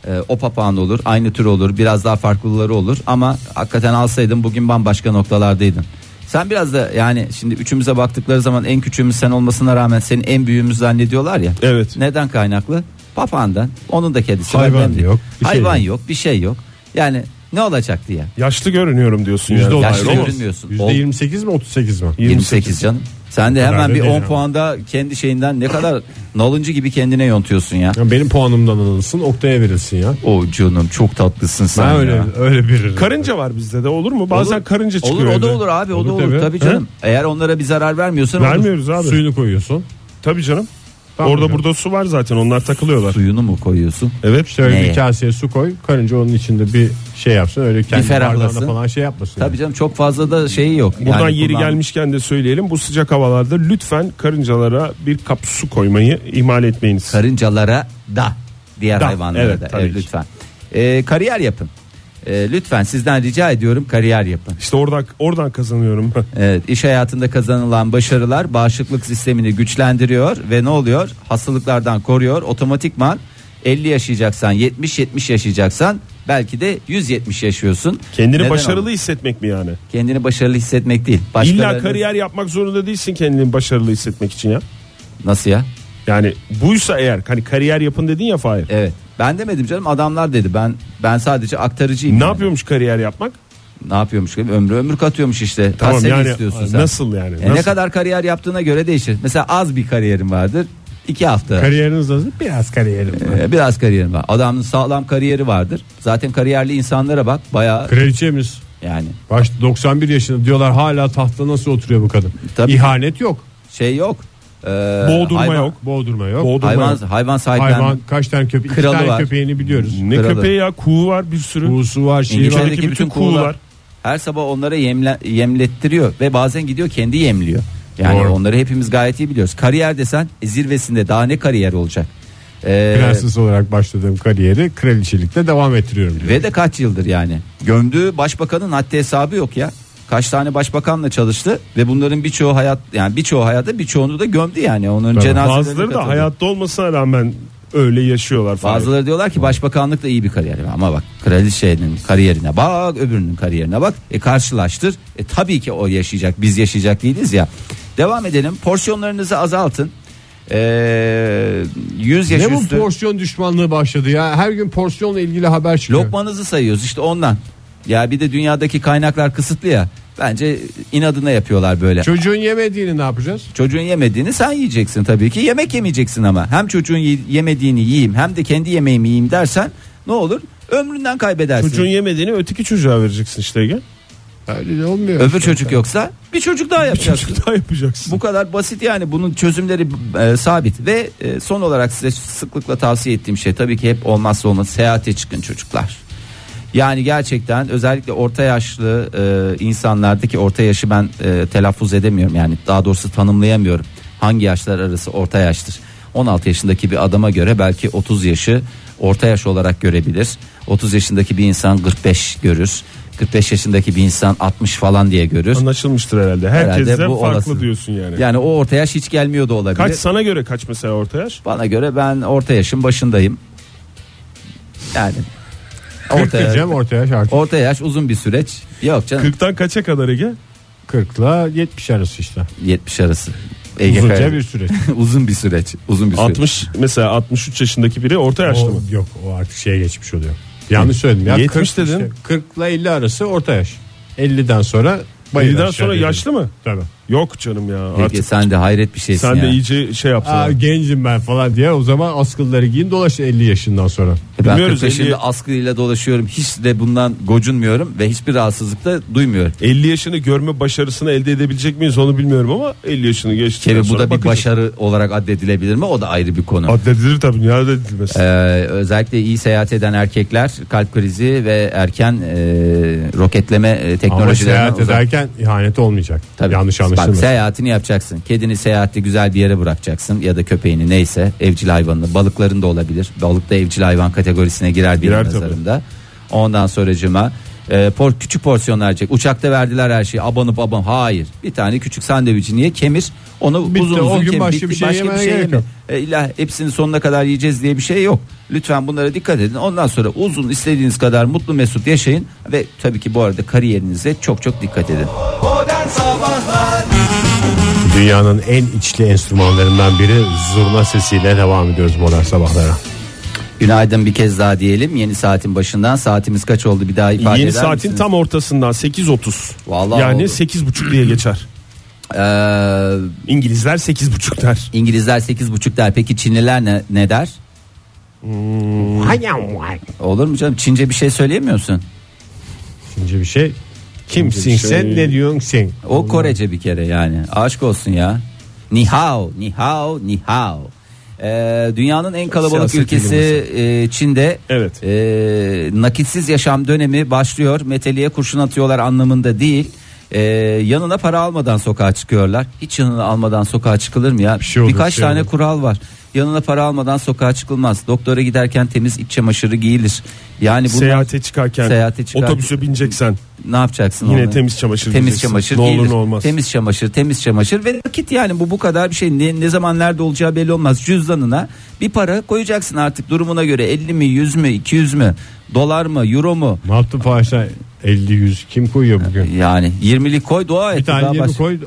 Speaker 2: Ee, o papağan olur. Aynı tür olur. Biraz daha farklıları olur. Ama hakikaten alsaydın bugün bambaşka noktalardaydın. Sen biraz da yani şimdi üçümüze baktıkları zaman en küçüğümüz sen olmasına rağmen senin en büyüğümüz zannediyorlar ya.
Speaker 3: Evet.
Speaker 2: Neden kaynaklı? Papağandan. Onun da kedisi var.
Speaker 4: Hayvan
Speaker 2: Ben de-
Speaker 4: yok, bir şey
Speaker 2: Hayvan
Speaker 4: yok.
Speaker 2: yok. Bir şey yok. Yani ne olacak diye.
Speaker 3: Yaşlı görünüyorum diyorsun
Speaker 4: Yüzde
Speaker 3: yani.
Speaker 4: otuz.
Speaker 2: Yaşlı
Speaker 3: Hayır, olmaz.
Speaker 2: görünmüyorsun.
Speaker 4: Yüzde
Speaker 2: şey Ol-
Speaker 4: yirmi sekiz mi otuz sekiz mi?
Speaker 2: 28, canım. Sen de hemen
Speaker 4: da
Speaker 2: bir
Speaker 4: değil
Speaker 2: 10
Speaker 4: ama.
Speaker 2: puanda kendi şeyinden ne kadar nalıncı gibi kendine yontuyorsun ya.
Speaker 4: Ya Benim puanımdan alınsın Oktay'a verilsin ya.
Speaker 2: O canım çok tatlısın sen
Speaker 4: Ben
Speaker 2: ya.
Speaker 4: öyle öyle biririm.
Speaker 3: Karınca var bizde de olur mu? Bazen
Speaker 2: Olur.
Speaker 3: karınca çıkıyor.
Speaker 2: Olur o da
Speaker 3: evde.
Speaker 2: olur abi o da
Speaker 4: Olur
Speaker 2: olur tabii,
Speaker 4: tabii.
Speaker 2: canım. Eğer onlara bir zarar vermiyorsan olur.
Speaker 3: Vermiyoruz abi.
Speaker 4: Suyunu koyuyorsun.
Speaker 3: Tabii canım.
Speaker 4: Tamam
Speaker 3: Orada
Speaker 4: hocam.
Speaker 3: burada su var zaten. Onlar takılıyorlar.
Speaker 2: Suyunu mu koyuyorsun?
Speaker 4: Evet işte öyle
Speaker 2: Neye?
Speaker 4: bir kaseye su koy. Karınca onun içinde bir şey yapsın. Öyle kendi
Speaker 2: ferahlasın.
Speaker 4: bardağına falan şey yapmasın.
Speaker 2: Tabii canım çok fazla da şeyi yok.
Speaker 3: Buradan
Speaker 2: Yani
Speaker 3: yeri
Speaker 2: kullan-
Speaker 3: gelmişken de söyleyelim. Bu sıcak havalarda lütfen karıncalara bir kap su koymayı ihmal etmeyiniz.
Speaker 2: Karıncalara da diğer
Speaker 3: Da,
Speaker 2: hayvanlara
Speaker 3: evet,
Speaker 2: da
Speaker 3: tabii
Speaker 2: Evet,
Speaker 3: ki.
Speaker 2: lütfen. Ee, kariyer yapın. Ee, lütfen sizden rica ediyorum kariyer yapın.
Speaker 3: işte oradan oradan kazanıyorum.
Speaker 2: Evet, iş hayatında kazanılan başarılar bağışıklık sistemini güçlendiriyor ve ne oluyor? Hastalıklardan koruyor. Otomatikman 50 yaşayacaksan, 70 70 yaşayacaksan belki de 170 yaşıyorsun.
Speaker 3: Kendini
Speaker 2: Neden
Speaker 3: başarılı
Speaker 2: olur?
Speaker 3: hissetmek mi yani?
Speaker 2: kendini başarılı hissetmek değil.
Speaker 3: İlla
Speaker 2: Başkalarını-
Speaker 3: kariyer yapmak zorunda değilsin kendini başarılı hissetmek için ya.
Speaker 2: nasıl ya?
Speaker 3: Yani buysa eğer hani kariyer yapın dedin ya Fahir.
Speaker 2: Evet. Ben demedim canım adamlar dedi. Ben ben sadece aktarıcıyım.
Speaker 3: ne
Speaker 2: yani.
Speaker 3: yapıyormuş kariyer yapmak?
Speaker 2: Ne yapıyormuş? gibi? Ömrü ömür katıyormuş işte.
Speaker 3: Tamam
Speaker 2: Tamam
Speaker 3: yani
Speaker 2: istiyorsun sen.
Speaker 3: nasıl yani?
Speaker 2: E, ne
Speaker 3: Nasıl?
Speaker 2: kadar kariyer yaptığına göre değişir. Mesela az bir kariyerim vardır. 2 hafta.
Speaker 4: Kariyeriniz nasıl? Biraz kariyerim. var.
Speaker 2: Ee, biraz kariyerim var. Adamın sağlam kariyeri vardır. Zaten kariyerli insanlara bak bayağı
Speaker 4: Kraliçemiz.
Speaker 2: yani
Speaker 4: Baş 91 yaşında diyorlar hala tahtta nasıl oturuyor bu kadın?
Speaker 2: Tabii.
Speaker 4: İhanet yok.
Speaker 2: şey yok. Ee,
Speaker 3: Boğdurma
Speaker 2: hayvan,
Speaker 3: yok.
Speaker 4: Boğdurma yok.
Speaker 3: Boğdurma
Speaker 2: Hayvan,
Speaker 3: yok.
Speaker 2: hayvan sahiplenme.
Speaker 4: Hayvan kaç tane köpek? İki
Speaker 2: Kralı
Speaker 4: tane
Speaker 2: var.
Speaker 4: köpeğini biliyoruz.
Speaker 3: Ne
Speaker 2: Kralı.
Speaker 3: köpeği ya? Kuğu var bir sürü.
Speaker 4: Kuğusu var, şeyi var.
Speaker 3: İngilizce'deki
Speaker 2: İngiltere'deki bütün
Speaker 3: bütün
Speaker 2: kuğular
Speaker 3: kuğular.
Speaker 2: her sabah onlara yemle, yemlettiriyor ve bazen gidiyor kendi yemliyor. Yani
Speaker 4: Doğru.
Speaker 2: onları hepimiz gayet iyi biliyoruz. Kariyer desen e, zirvesinde daha ne kariyer olacak? Ee,
Speaker 4: Prenses olarak başladığım kariyeri kraliçelikte devam ettiriyorum diyor.
Speaker 2: Ve de kaç yıldır yani. Gömdüğü başbakanın haddi hesabı yok ya. Kaç tane başbakanla çalıştı ve bunların birçoğu hayat yani birçoğu hayata birçoğunu da gömdü yani. Onların
Speaker 4: Tabii.
Speaker 2: cenazelerine
Speaker 3: Bazıları da
Speaker 2: katıldı.
Speaker 3: hayatta olmasına rağmen öyle yaşıyorlar falan.
Speaker 2: Bazıları diyorlar ki başbakanlık da iyi bir kariyer ama bak kraliçenin kariyerine bak öbürünün kariyerine bak e karşılaştır e tabii ki o yaşayacak biz yaşayacak değiliz ya devam edelim porsiyonlarınızı azaltın ee, 100 yaş
Speaker 4: Ne bu
Speaker 2: üstü
Speaker 4: porsiyon düşmanlığı başladı ya? Her gün porsiyonla ilgili haber çıkıyor.
Speaker 2: Lokmanızı sayıyoruz işte ondan. Ya bir de dünyadaki kaynaklar kısıtlı ya. Bence inadına yapıyorlar böyle.
Speaker 4: Çocuğun yemediğini ne yapacağız?
Speaker 2: Çocuğun yemediğini sen yiyeceksin tabii ki. Yemek yemeyeceksin ama. Hem çocuğun ye- yemediğini yiyeyim hem de kendi yemeğimi yiyeyim dersen ne olur? Ömründen kaybedersin.
Speaker 3: Çocuğun yemediğini öteki çocuğa vereceksin işte Ege.
Speaker 4: Öyle de olmuyor.
Speaker 2: Öbür çocuk yoksa bir çocuk daha yapacaksın.
Speaker 3: Çocuk daha yapacaksın.
Speaker 2: Bu kadar basit yani bunun çözümleri e, sabit ve e, son olarak size sıklıkla tavsiye ettiğim şey tabii ki hep olmazsa olmaz seyahate çıkın çocuklar. Yani gerçekten özellikle orta yaşlı e, insanlardaki orta yaşı ben e, telaffuz edemiyorum yani daha doğrusu tanımlayamıyorum. Hangi yaşlar arası orta yaştır? 16 yaşındaki bir adama göre belki 30 yaşı orta yaş olarak görebilir. 30 yaşındaki bir insan 45 görür. 45 yaşındaki bir insan 60 falan diye görür.
Speaker 3: Anlaşılmıştır herhalde. Herkesten
Speaker 2: Herhalde bu
Speaker 3: farklı
Speaker 2: olası.
Speaker 3: diyorsun yani.
Speaker 2: Yani o orta yaş hiç gelmiyor da olabilir.
Speaker 3: Kaç sana göre kaç mesela orta yaş?
Speaker 2: Bana göre ben orta yaşın başındayım. Yani
Speaker 4: Kırk
Speaker 2: orta yaş,
Speaker 4: diyeceğim ortaya şarkı.
Speaker 2: orta yaş uzun bir süreç. Yok canım
Speaker 3: 40'tan kaça kadar Ege?
Speaker 2: Şey-
Speaker 4: 40 ile 70 arası işte.
Speaker 2: 70 arası. Ege
Speaker 4: Uzunca
Speaker 2: Kayalı.
Speaker 4: bir süreç.
Speaker 2: uzun bir süreç. Uzun bir süreç.
Speaker 3: 60 mesela 63 yaşındaki biri orta yaşlı
Speaker 4: O,
Speaker 3: mı?
Speaker 4: yok o artık şeye geçmiş oluyor. Yanlış söyledim. Ya
Speaker 3: 70
Speaker 4: 40
Speaker 3: dedin.
Speaker 4: 40 ile 50 arası orta yaş. 50'den sonra bayılan
Speaker 3: 50'den
Speaker 4: yaş
Speaker 3: sonra
Speaker 4: dedim.
Speaker 3: yaşlı mı?
Speaker 4: Tabii.
Speaker 3: Yok canım ya
Speaker 2: Peki
Speaker 3: artık.
Speaker 2: sen de hayret bir şeysin
Speaker 3: Sen
Speaker 2: ya.
Speaker 3: de iyice şey yapsın.
Speaker 4: Aa, gencim ben falan diye o zaman askılları giyin dolaş 50 yaşından sonra.
Speaker 2: E Ben
Speaker 3: Bilmiyoruz,
Speaker 2: 45
Speaker 3: elli-
Speaker 2: yılda askıyla dolaşıyorum. Hiç de bundan gocunmuyorum ve hiçbir rahatsızlık da duymuyorum.
Speaker 3: 50 yaşını görme başarısını elde edebilecek miyiz onu bilmiyorum ama 50 yaşını geçtikten
Speaker 2: Tabii bu
Speaker 3: sonra
Speaker 2: da bir
Speaker 3: bakacağız.
Speaker 2: başarı olarak addedilebilir mi? O da ayrı bir konu.
Speaker 3: Addedilir tabii niye addedilmez.
Speaker 2: Ee, özellikle iyi seyahat eden erkekler kalp krizi ve erken e, roketleme e,
Speaker 4: Ama
Speaker 2: teknolojilerine
Speaker 4: seyahat
Speaker 2: uzak.
Speaker 4: ederken ihanet olmayacak.
Speaker 2: Tabii.
Speaker 4: Yanlış
Speaker 2: Bak,
Speaker 4: anlaşılmasın.
Speaker 2: seyahatini yapacaksın. Kedini seyahatte güzel bir yere bırakacaksın ya da köpeğini neyse evcil hayvanını. Balıkların da olabilir. Balık da evcil hayvan kategorisine girer bir
Speaker 3: Girer tabii.
Speaker 2: nazarında. Ondan sonracıma e, por, küçük porsiyonlar yiyecek. Uçakta verdiler her şeyi abanıp aban. Hayır. Bir tane küçük sandviçi niye kemir? Onu
Speaker 4: Bitti,
Speaker 2: uzun
Speaker 4: o
Speaker 2: uzun
Speaker 4: gün
Speaker 2: kemir.
Speaker 4: başka bir şey yemene gerek
Speaker 2: yeme.
Speaker 4: yok.
Speaker 2: E, illa hepsini sonuna kadar yiyeceğiz diye bir şey yok. Lütfen bunlara dikkat edin. Ondan sonra uzun istediğiniz kadar mutlu mesut yaşayın ve tabii ki bu arada kariyerinize çok çok dikkat edin.
Speaker 4: Dünyanın en içli enstrümanlarından biri zurna sesiyle devam ediyoruz modern sabahlara.
Speaker 2: Günaydın bir kez daha diyelim. Yeni saatin başından saatimiz kaç oldu bir daha ifade
Speaker 3: Yeni
Speaker 2: eder
Speaker 3: saatin
Speaker 2: misiniz?
Speaker 3: tam ortasından 8.30.
Speaker 2: Vallahi
Speaker 3: yani
Speaker 2: oldu.
Speaker 3: 8.30 diye geçer.
Speaker 2: Ee,
Speaker 3: İngilizler 8.30 der.
Speaker 2: İngilizler 8.30 der. Peki Çinliler ne, ne der?
Speaker 4: Hmm.
Speaker 2: Olur mu canım? Çince bir şey söyleyemiyorsun.
Speaker 4: İkinci bir şey kim
Speaker 3: bir
Speaker 4: sinsen
Speaker 3: şey-
Speaker 4: ne diyorsun sen?
Speaker 2: O Korece bir kere yani. Aşk olsun ya. Ni hao, ni hao, ni hao. Ee, dünyanın en kalabalık
Speaker 3: Siyaset
Speaker 2: ülkesi e, Çin'de
Speaker 3: Evet.
Speaker 2: e, nakitsiz yaşam dönemi başlıyor. Meteliğe kurşun atıyorlar anlamında değil. E, yanına para almadan sokağa çıkıyorlar. Hiç yanına almadan sokağa çıkılır mı ya?
Speaker 4: şey olur,
Speaker 2: Birkaç
Speaker 4: şey
Speaker 2: tane
Speaker 4: olur.
Speaker 2: kural var. Yanına para almadan sokağa çıkılmaz. Doktora giderken temiz iç çamaşırı giyilir. Yani bunlar
Speaker 3: Seyahate çıkarken,
Speaker 2: Seyahate çıkarken-
Speaker 3: otobüse bineceksen
Speaker 2: ne yapacaksın?
Speaker 3: Yine
Speaker 2: onu?
Speaker 3: temiz çamaşır
Speaker 2: Temiz
Speaker 3: giyeceksin.
Speaker 2: çamaşır.
Speaker 3: Ne olur
Speaker 2: giyilir.
Speaker 3: ne olmaz.
Speaker 2: Temiz çamaşır, temiz çamaşır ve nakit yani bu bu kadar bir şey. Ne, ne zaman nerede olacağı belli olmaz. Cüzdanına bir para koyacaksın artık durumuna göre 50 mi, 100 mü, 200 mü, dolar mı, euro mu?
Speaker 4: Ne yaptın Fahişe? 50 100 kim koyuyor bugün?
Speaker 2: Yani 20'lik koy dua et.
Speaker 4: Bir tane
Speaker 2: daha
Speaker 4: yeni
Speaker 2: baş-
Speaker 4: koy,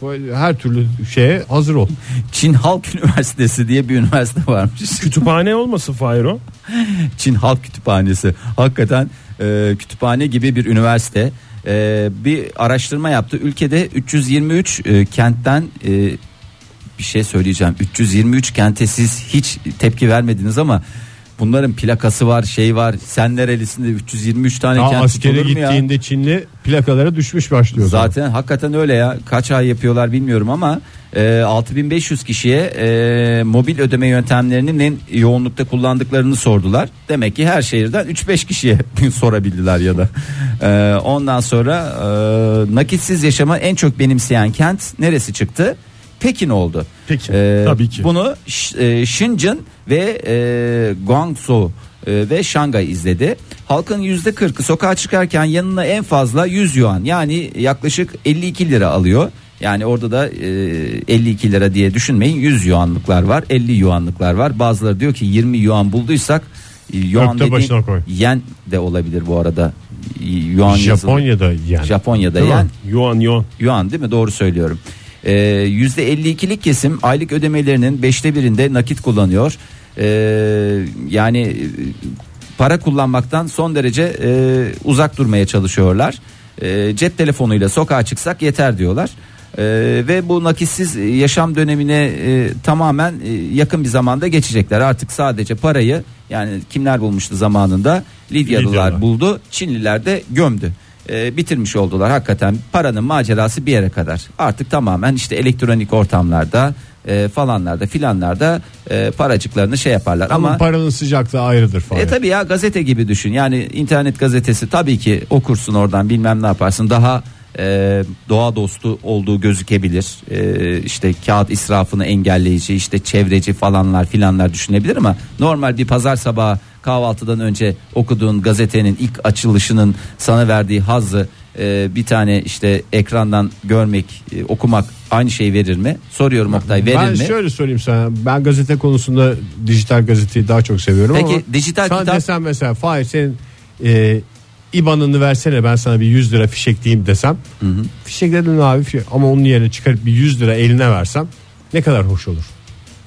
Speaker 4: koy her türlü şeye hazır ol.
Speaker 2: Çin Halk Üniversitesi diye bir üniversite varmış.
Speaker 3: kütüphane olmasın Fahir o.
Speaker 2: Çin Halk Kütüphanesi. Hakikaten e, kütüphane gibi bir üniversite. E, bir araştırma yaptı. Ülkede 323 e, kentten e, bir şey söyleyeceğim. 323 kente siz hiç tepki vermediniz ama bunların plakası var, şey var. Sen nerelisinde 323 tane
Speaker 4: Daha
Speaker 2: Hani kent
Speaker 4: askere
Speaker 2: tutulur mu ya?
Speaker 4: gittiğinde Çinli plakalara düşmüş başlıyor.
Speaker 2: Zaten hakikaten öyle ya. Kaç ay yapıyorlar bilmiyorum ama e, 6500 kişiye e, mobil ödeme yöntemlerinin en yoğunlukta kullandıklarını sordular. Demek ki her şehirden 3-5 kişiye sorabildiler ya da. E, ondan sonra e, nakitsiz yaşama en çok benimseyen kent neresi çıktı? Pekin oldu.
Speaker 3: Pekin,
Speaker 2: E,
Speaker 3: tabii ki.
Speaker 2: Bunu Ş- e, Shenzhen ve e, Guangzhou e, ve Şangay izledi. Halkın yüzde 40'ı sokağa çıkarken yanına en fazla 100 yuan yani yaklaşık 52 lira alıyor. Yani orada da e, 52 lira diye düşünmeyin 100 yuanlıklar var 50 yuanlıklar var. Bazıları diyor ki 20 yuan bulduysak e, yuan
Speaker 4: Öpte
Speaker 2: dediğin
Speaker 4: başına koy.
Speaker 2: yen de olabilir bu arada. E, Yuan yazılı.
Speaker 4: Japonya'da yani.
Speaker 2: Japonya'da
Speaker 4: Değil mi?
Speaker 2: yen
Speaker 3: Yuan yuan.
Speaker 2: yuan değil mi? Doğru söylüyorum. Ee, %52'lik kesim aylık ödemelerinin beşte birinde nakit kullanıyor. Ee, yani e, para kullanmaktan son derece e, uzak durmaya çalışıyorlar. Ee, cep telefonuyla sokağa çıksak yeter diyorlar. Ee, ve bu nakitsiz yaşam dönemine e, tamamen e, yakın bir zamanda geçecekler. Artık sadece parayı yani kimler bulmuştu zamanında? Lidyalılar
Speaker 4: Lidyalılar.
Speaker 2: buldu. Çinliler de gömdü. Ee, bitirmiş oldular hakikaten paranın macerası bir yere kadar artık tamamen işte elektronik ortamlarda e, falanlarda filanlarda e, paracıklarını şey yaparlar
Speaker 4: Ama,
Speaker 2: ama
Speaker 4: paranın sıcaklığı ayrıdır falan.
Speaker 2: e tabi ya gazete gibi düşün yani internet gazetesi tabii ki okursun oradan bilmem ne yaparsın daha e, doğa dostu olduğu gözükebilir E, işte kağıt israfını engelleyici işte çevreci falanlar filanlar düşünebilir ama normal bir pazar sabahı kahvaltıdan önce okuduğun gazetenin ilk açılışının sana verdiği hazzı e, bir tane işte ekrandan görmek e, okumak aynı şey verir mi soruyorum Oktay verir
Speaker 4: ben
Speaker 2: mi?
Speaker 4: şöyle söyleyeyim sana. Ben gazete konusunda dijital gazeteyi daha çok seviyorum
Speaker 2: Peki,
Speaker 4: ama.
Speaker 2: dijital
Speaker 4: sen
Speaker 2: kitap-
Speaker 4: desen mesela Fahir senin e, IBAN'ını versene ben sana bir 100 lira fişekleyeyim desem. Fişekledin abi fişek- ama onun yerine çıkarıp bir 100 lira eline versem ne kadar hoş olur.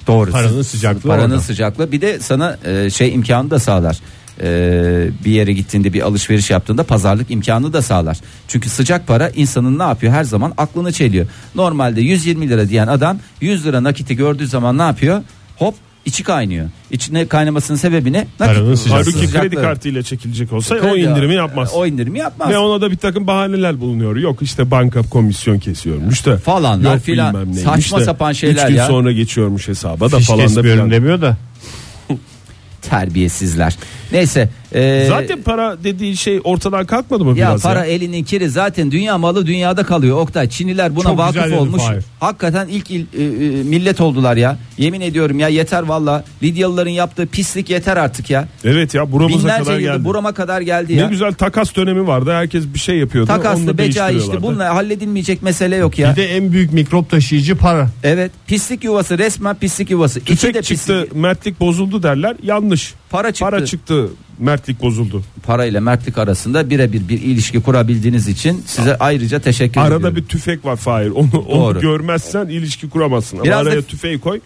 Speaker 2: Doğru.
Speaker 4: Paranın
Speaker 2: Sı-
Speaker 4: sıcaklığı
Speaker 2: Paranın
Speaker 4: orada.
Speaker 2: sıcaklığı bir de sana e, şey imkanı da sağlar. Ee, bir yere gittiğinde bir alışveriş yaptığında pazarlık imkanı da sağlar. Çünkü sıcak para insanın ne yapıyor her zaman aklını çeliyor. Normalde 120 lira diyen adam 100 lira nakiti gördüğü zaman ne yapıyor? Hop içi kaynıyor. İçine kaynamasının sebebi ne? Nakit.
Speaker 4: Paranın sıcaklığı.
Speaker 3: Halbuki
Speaker 2: Sıcaklığı.
Speaker 3: kredi kartıyla çekilecek olsa o
Speaker 2: Kredi-
Speaker 3: indirimi yapmaz.
Speaker 2: O indirimi yapmaz.
Speaker 3: Ve ona da bir takım bahaneler bulunuyor. Yok işte banka komisyon kesiyormuş da.
Speaker 2: Falanlar
Speaker 3: yok
Speaker 2: filan.
Speaker 3: bilmem neymiş
Speaker 2: Saçma
Speaker 3: de,
Speaker 2: sapan
Speaker 3: üç
Speaker 2: şeyler
Speaker 3: gün
Speaker 2: ya.
Speaker 3: sonra geçiyormuş hesaba da
Speaker 4: Hiç
Speaker 3: falan da
Speaker 4: kesmiyorum
Speaker 3: filan.
Speaker 4: demiyor da.
Speaker 2: Terbiyesizler. Neyse. ee,
Speaker 3: Zaten para dediği şey ortadan kalkmadı mı
Speaker 2: Ya
Speaker 3: biraz
Speaker 2: para
Speaker 3: ya?
Speaker 2: elinin kiri zaten dünya malı dünyada kalıyor. Oktay Çinliler buna
Speaker 4: Çok güzel
Speaker 2: vakıf
Speaker 4: dedin
Speaker 2: olmuş.
Speaker 4: Fahir.
Speaker 2: Hakikaten ilk il, e, e, millet oldular ya. Yemin ediyorum ya yeter valla. Lidyalıların yaptığı pislik yeter artık ya.
Speaker 3: Evet ya buramıza
Speaker 2: Binlerce
Speaker 3: kadar
Speaker 2: yıldır
Speaker 3: geldi.
Speaker 2: burama kadar geldi
Speaker 3: Ne
Speaker 2: ya.
Speaker 3: güzel takas dönemi vardı. Herkes bir şey yapıyordu. onu da
Speaker 2: Takaslı beca işte
Speaker 3: değiştiriyorlardı.
Speaker 2: bununla halledilmeyecek mesele yok ya.
Speaker 4: Bir de en büyük mikrop taşıyıcı para.
Speaker 2: Evet pislik yuvası resmen pislik yuvası. İçi de
Speaker 3: Tüfek
Speaker 2: pislik.
Speaker 3: çıktı, mertlik bozuldu derler. Yanlış.
Speaker 2: Para çıktı.
Speaker 3: Para çıktı, mertlik bozuldu.
Speaker 2: Parayla mertlik arasında birebir bir ilişki kurabildiğiniz için size ayrıca teşekkür
Speaker 3: Arada
Speaker 2: ediyorum.
Speaker 3: bir tüfek var Fahir. Onu,
Speaker 2: Doğru.
Speaker 3: onu görmezsen ilişki kuramazsın. Ama
Speaker 2: Biraz da-
Speaker 3: araya tüfeği koy.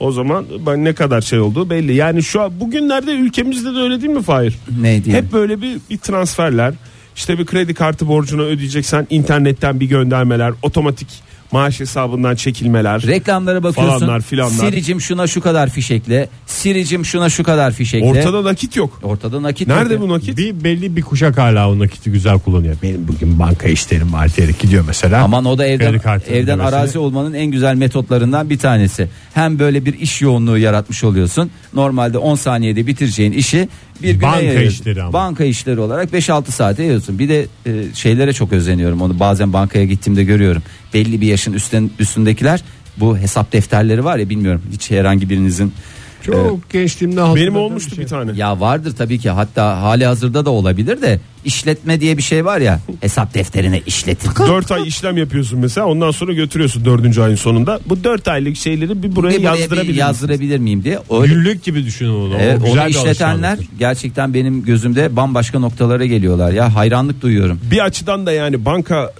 Speaker 3: O zaman ben ne kadar şey olduğu belli. Yani şu an bugünlerde ülkemizde de öyle değil mi Fahir?
Speaker 2: Ne diyeyim?
Speaker 3: Hep böyle bir, bir transferler. işte bir kredi kartı borcunu ödeyeceksen internetten bir göndermeler, otomatik maaş hesabından çekilmeler.
Speaker 2: Reklamlara bakıyorsun.
Speaker 3: Falanlar, filanlar.
Speaker 2: Siricim şuna şu kadar fişekle. Siricim şuna şu kadar fişekle.
Speaker 3: Ortada nakit yok.
Speaker 2: Ortada nakit.
Speaker 3: Nerede
Speaker 2: yok.
Speaker 3: bu nakit?
Speaker 4: Bir belli bir kuşak hala o nakiti güzel kullanıyor. Benim bugün banka işlerim var diyerek gidiyor mesela.
Speaker 2: Aman o da evden
Speaker 4: Kredi kartı
Speaker 2: evden
Speaker 4: ödemesini.
Speaker 2: arazi olmanın en güzel metotlarından bir tanesi. Hem böyle bir iş yoğunluğu yaratmış oluyorsun. Normalde 10 saniyede bitireceğin işi bir güne
Speaker 4: Banka
Speaker 2: yayıyorsun.
Speaker 4: işleri ama.
Speaker 2: Banka işleri olarak 5-6 saate yiyorsun. Bir de e, şeylere çok özeniyorum. Onu bazen bankaya gittiğimde görüyorum. Belli bir yaşın üstten, üstündekiler bu hesap defterleri var ya bilmiyorum. Hiç herhangi birinizin
Speaker 4: Çok gençliğimde
Speaker 3: Benim
Speaker 4: hatırladığım
Speaker 3: olmuştu bir,
Speaker 4: şey.
Speaker 3: tane.
Speaker 2: Ya vardır tabii ki hatta hali hazırda da olabilir de işletme diye bir şey var ya hesap defterine işletin.
Speaker 3: 4 ay işlem yapıyorsun mesela ondan sonra götürüyorsun 4. ayın sonunda. Bu 4 aylık şeyleri bir
Speaker 2: Bir buraya
Speaker 3: buraya,
Speaker 2: bir
Speaker 3: yazdırabilir misin?
Speaker 2: yazdırabilir miyim diye. Öyle,
Speaker 4: Günlük gibi düşünün onu.
Speaker 2: Evet,
Speaker 4: o güzel
Speaker 2: onu
Speaker 4: bir
Speaker 2: işletenler
Speaker 4: alışkanlıktır.
Speaker 2: gerçekten benim gözümde bambaşka noktalara geliyorlar ya hayranlık duyuyorum.
Speaker 3: Bir açıdan da yani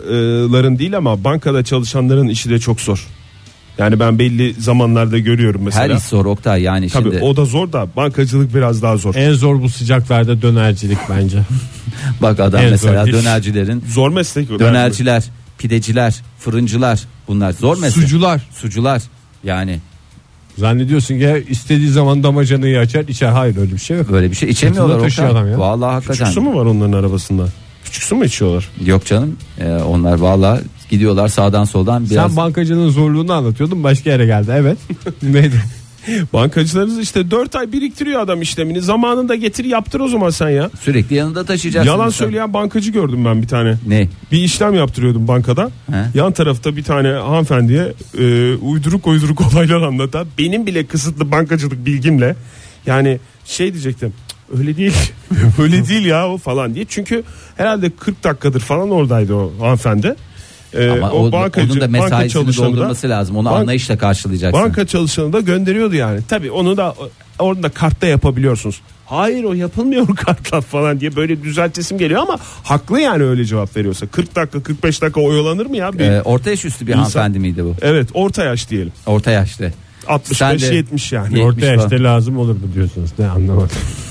Speaker 3: bankaların değil ama bankada çalışanların işi de çok zor. Yani ben belli zamanlarda görüyorum mesela.
Speaker 2: Her iş zor Oktay yani
Speaker 3: Tabii
Speaker 2: şimdi.
Speaker 3: o da zor da bankacılık biraz daha zor.
Speaker 4: En zor bu sıcaklarda dönercilik bence.
Speaker 2: Bak adam
Speaker 4: En zor
Speaker 2: mesela
Speaker 4: iş.
Speaker 2: dönercilerin
Speaker 3: Zor meslek. o.
Speaker 2: dönerciler, pideciler, fırıncılar bunlar zor meslek.
Speaker 4: Sucular.
Speaker 2: Sucular yani
Speaker 4: Zannediyorsun ki istediği zaman damacanayı açar içer. Hayır öyle bir şey yok.
Speaker 2: böyle bir şey içemiyorlar
Speaker 4: Fırtına taşıyor adam
Speaker 2: Oktay.
Speaker 4: ya.
Speaker 2: Vallahi
Speaker 3: Küçük
Speaker 2: hakikaten.
Speaker 3: su mu var onların arabasında? Küçük su mu içiyorlar?
Speaker 2: Yok canım. Ee, onlar vallahi gidiyorlar sağdan soldan biraz.
Speaker 4: Sen bankacının zorluğunu anlatıyordun başka yere geldi. Evet. Neydi?
Speaker 3: Bankacılarınız işte 4 ay biriktiriyor adam işlemini. Zamanında getir yaptır o zaman sen ya.
Speaker 2: Sürekli yanında taşıyacaksın.
Speaker 3: Yalan
Speaker 2: mesela.
Speaker 3: söyleyen bankacı gördüm ben bir tane.
Speaker 2: Ne?
Speaker 3: Bir işlem yaptırıyordum bankada.
Speaker 2: He.
Speaker 3: Yan tarafta bir tane hanımefendiye e, uyduruk uyduruk olaylar anlatan benim bile kısıtlı bankacılık bilgimle yani şey diyecektim. "Cık, Öyle değil. Öyle değil ya o falan diye. Çünkü herhalde 40 dakikadır falan oradaydı o hanımefendi. E,
Speaker 2: Ama o onun da mesaisini
Speaker 3: çalışanı da-
Speaker 2: doldurması lazım. Onu
Speaker 3: Bank-
Speaker 2: anlayışla karşılayacaksın.
Speaker 3: Banka çalışanı da gönderiyordu yani. Tabii onu da orada da kartta yapabiliyorsunuz. Hayır o yapılmıyor kartla falan diye böyle düzeltesim geliyor ama haklı yani öyle cevap veriyorsa. 40 dakika 45 dakika oyalanır mı ya? Bir-
Speaker 2: Ee, orta yaş üstü bir
Speaker 3: İnsan-
Speaker 2: hanımefendi miydi bu?
Speaker 3: Evet orta yaş diyelim.
Speaker 2: Orta yaşlı. Sen de-
Speaker 3: 65-70 yani.
Speaker 2: Yetmiş
Speaker 4: Orta yaşta
Speaker 2: falan.
Speaker 4: lazım olur mu diyorsunuz? Ne anlamadım.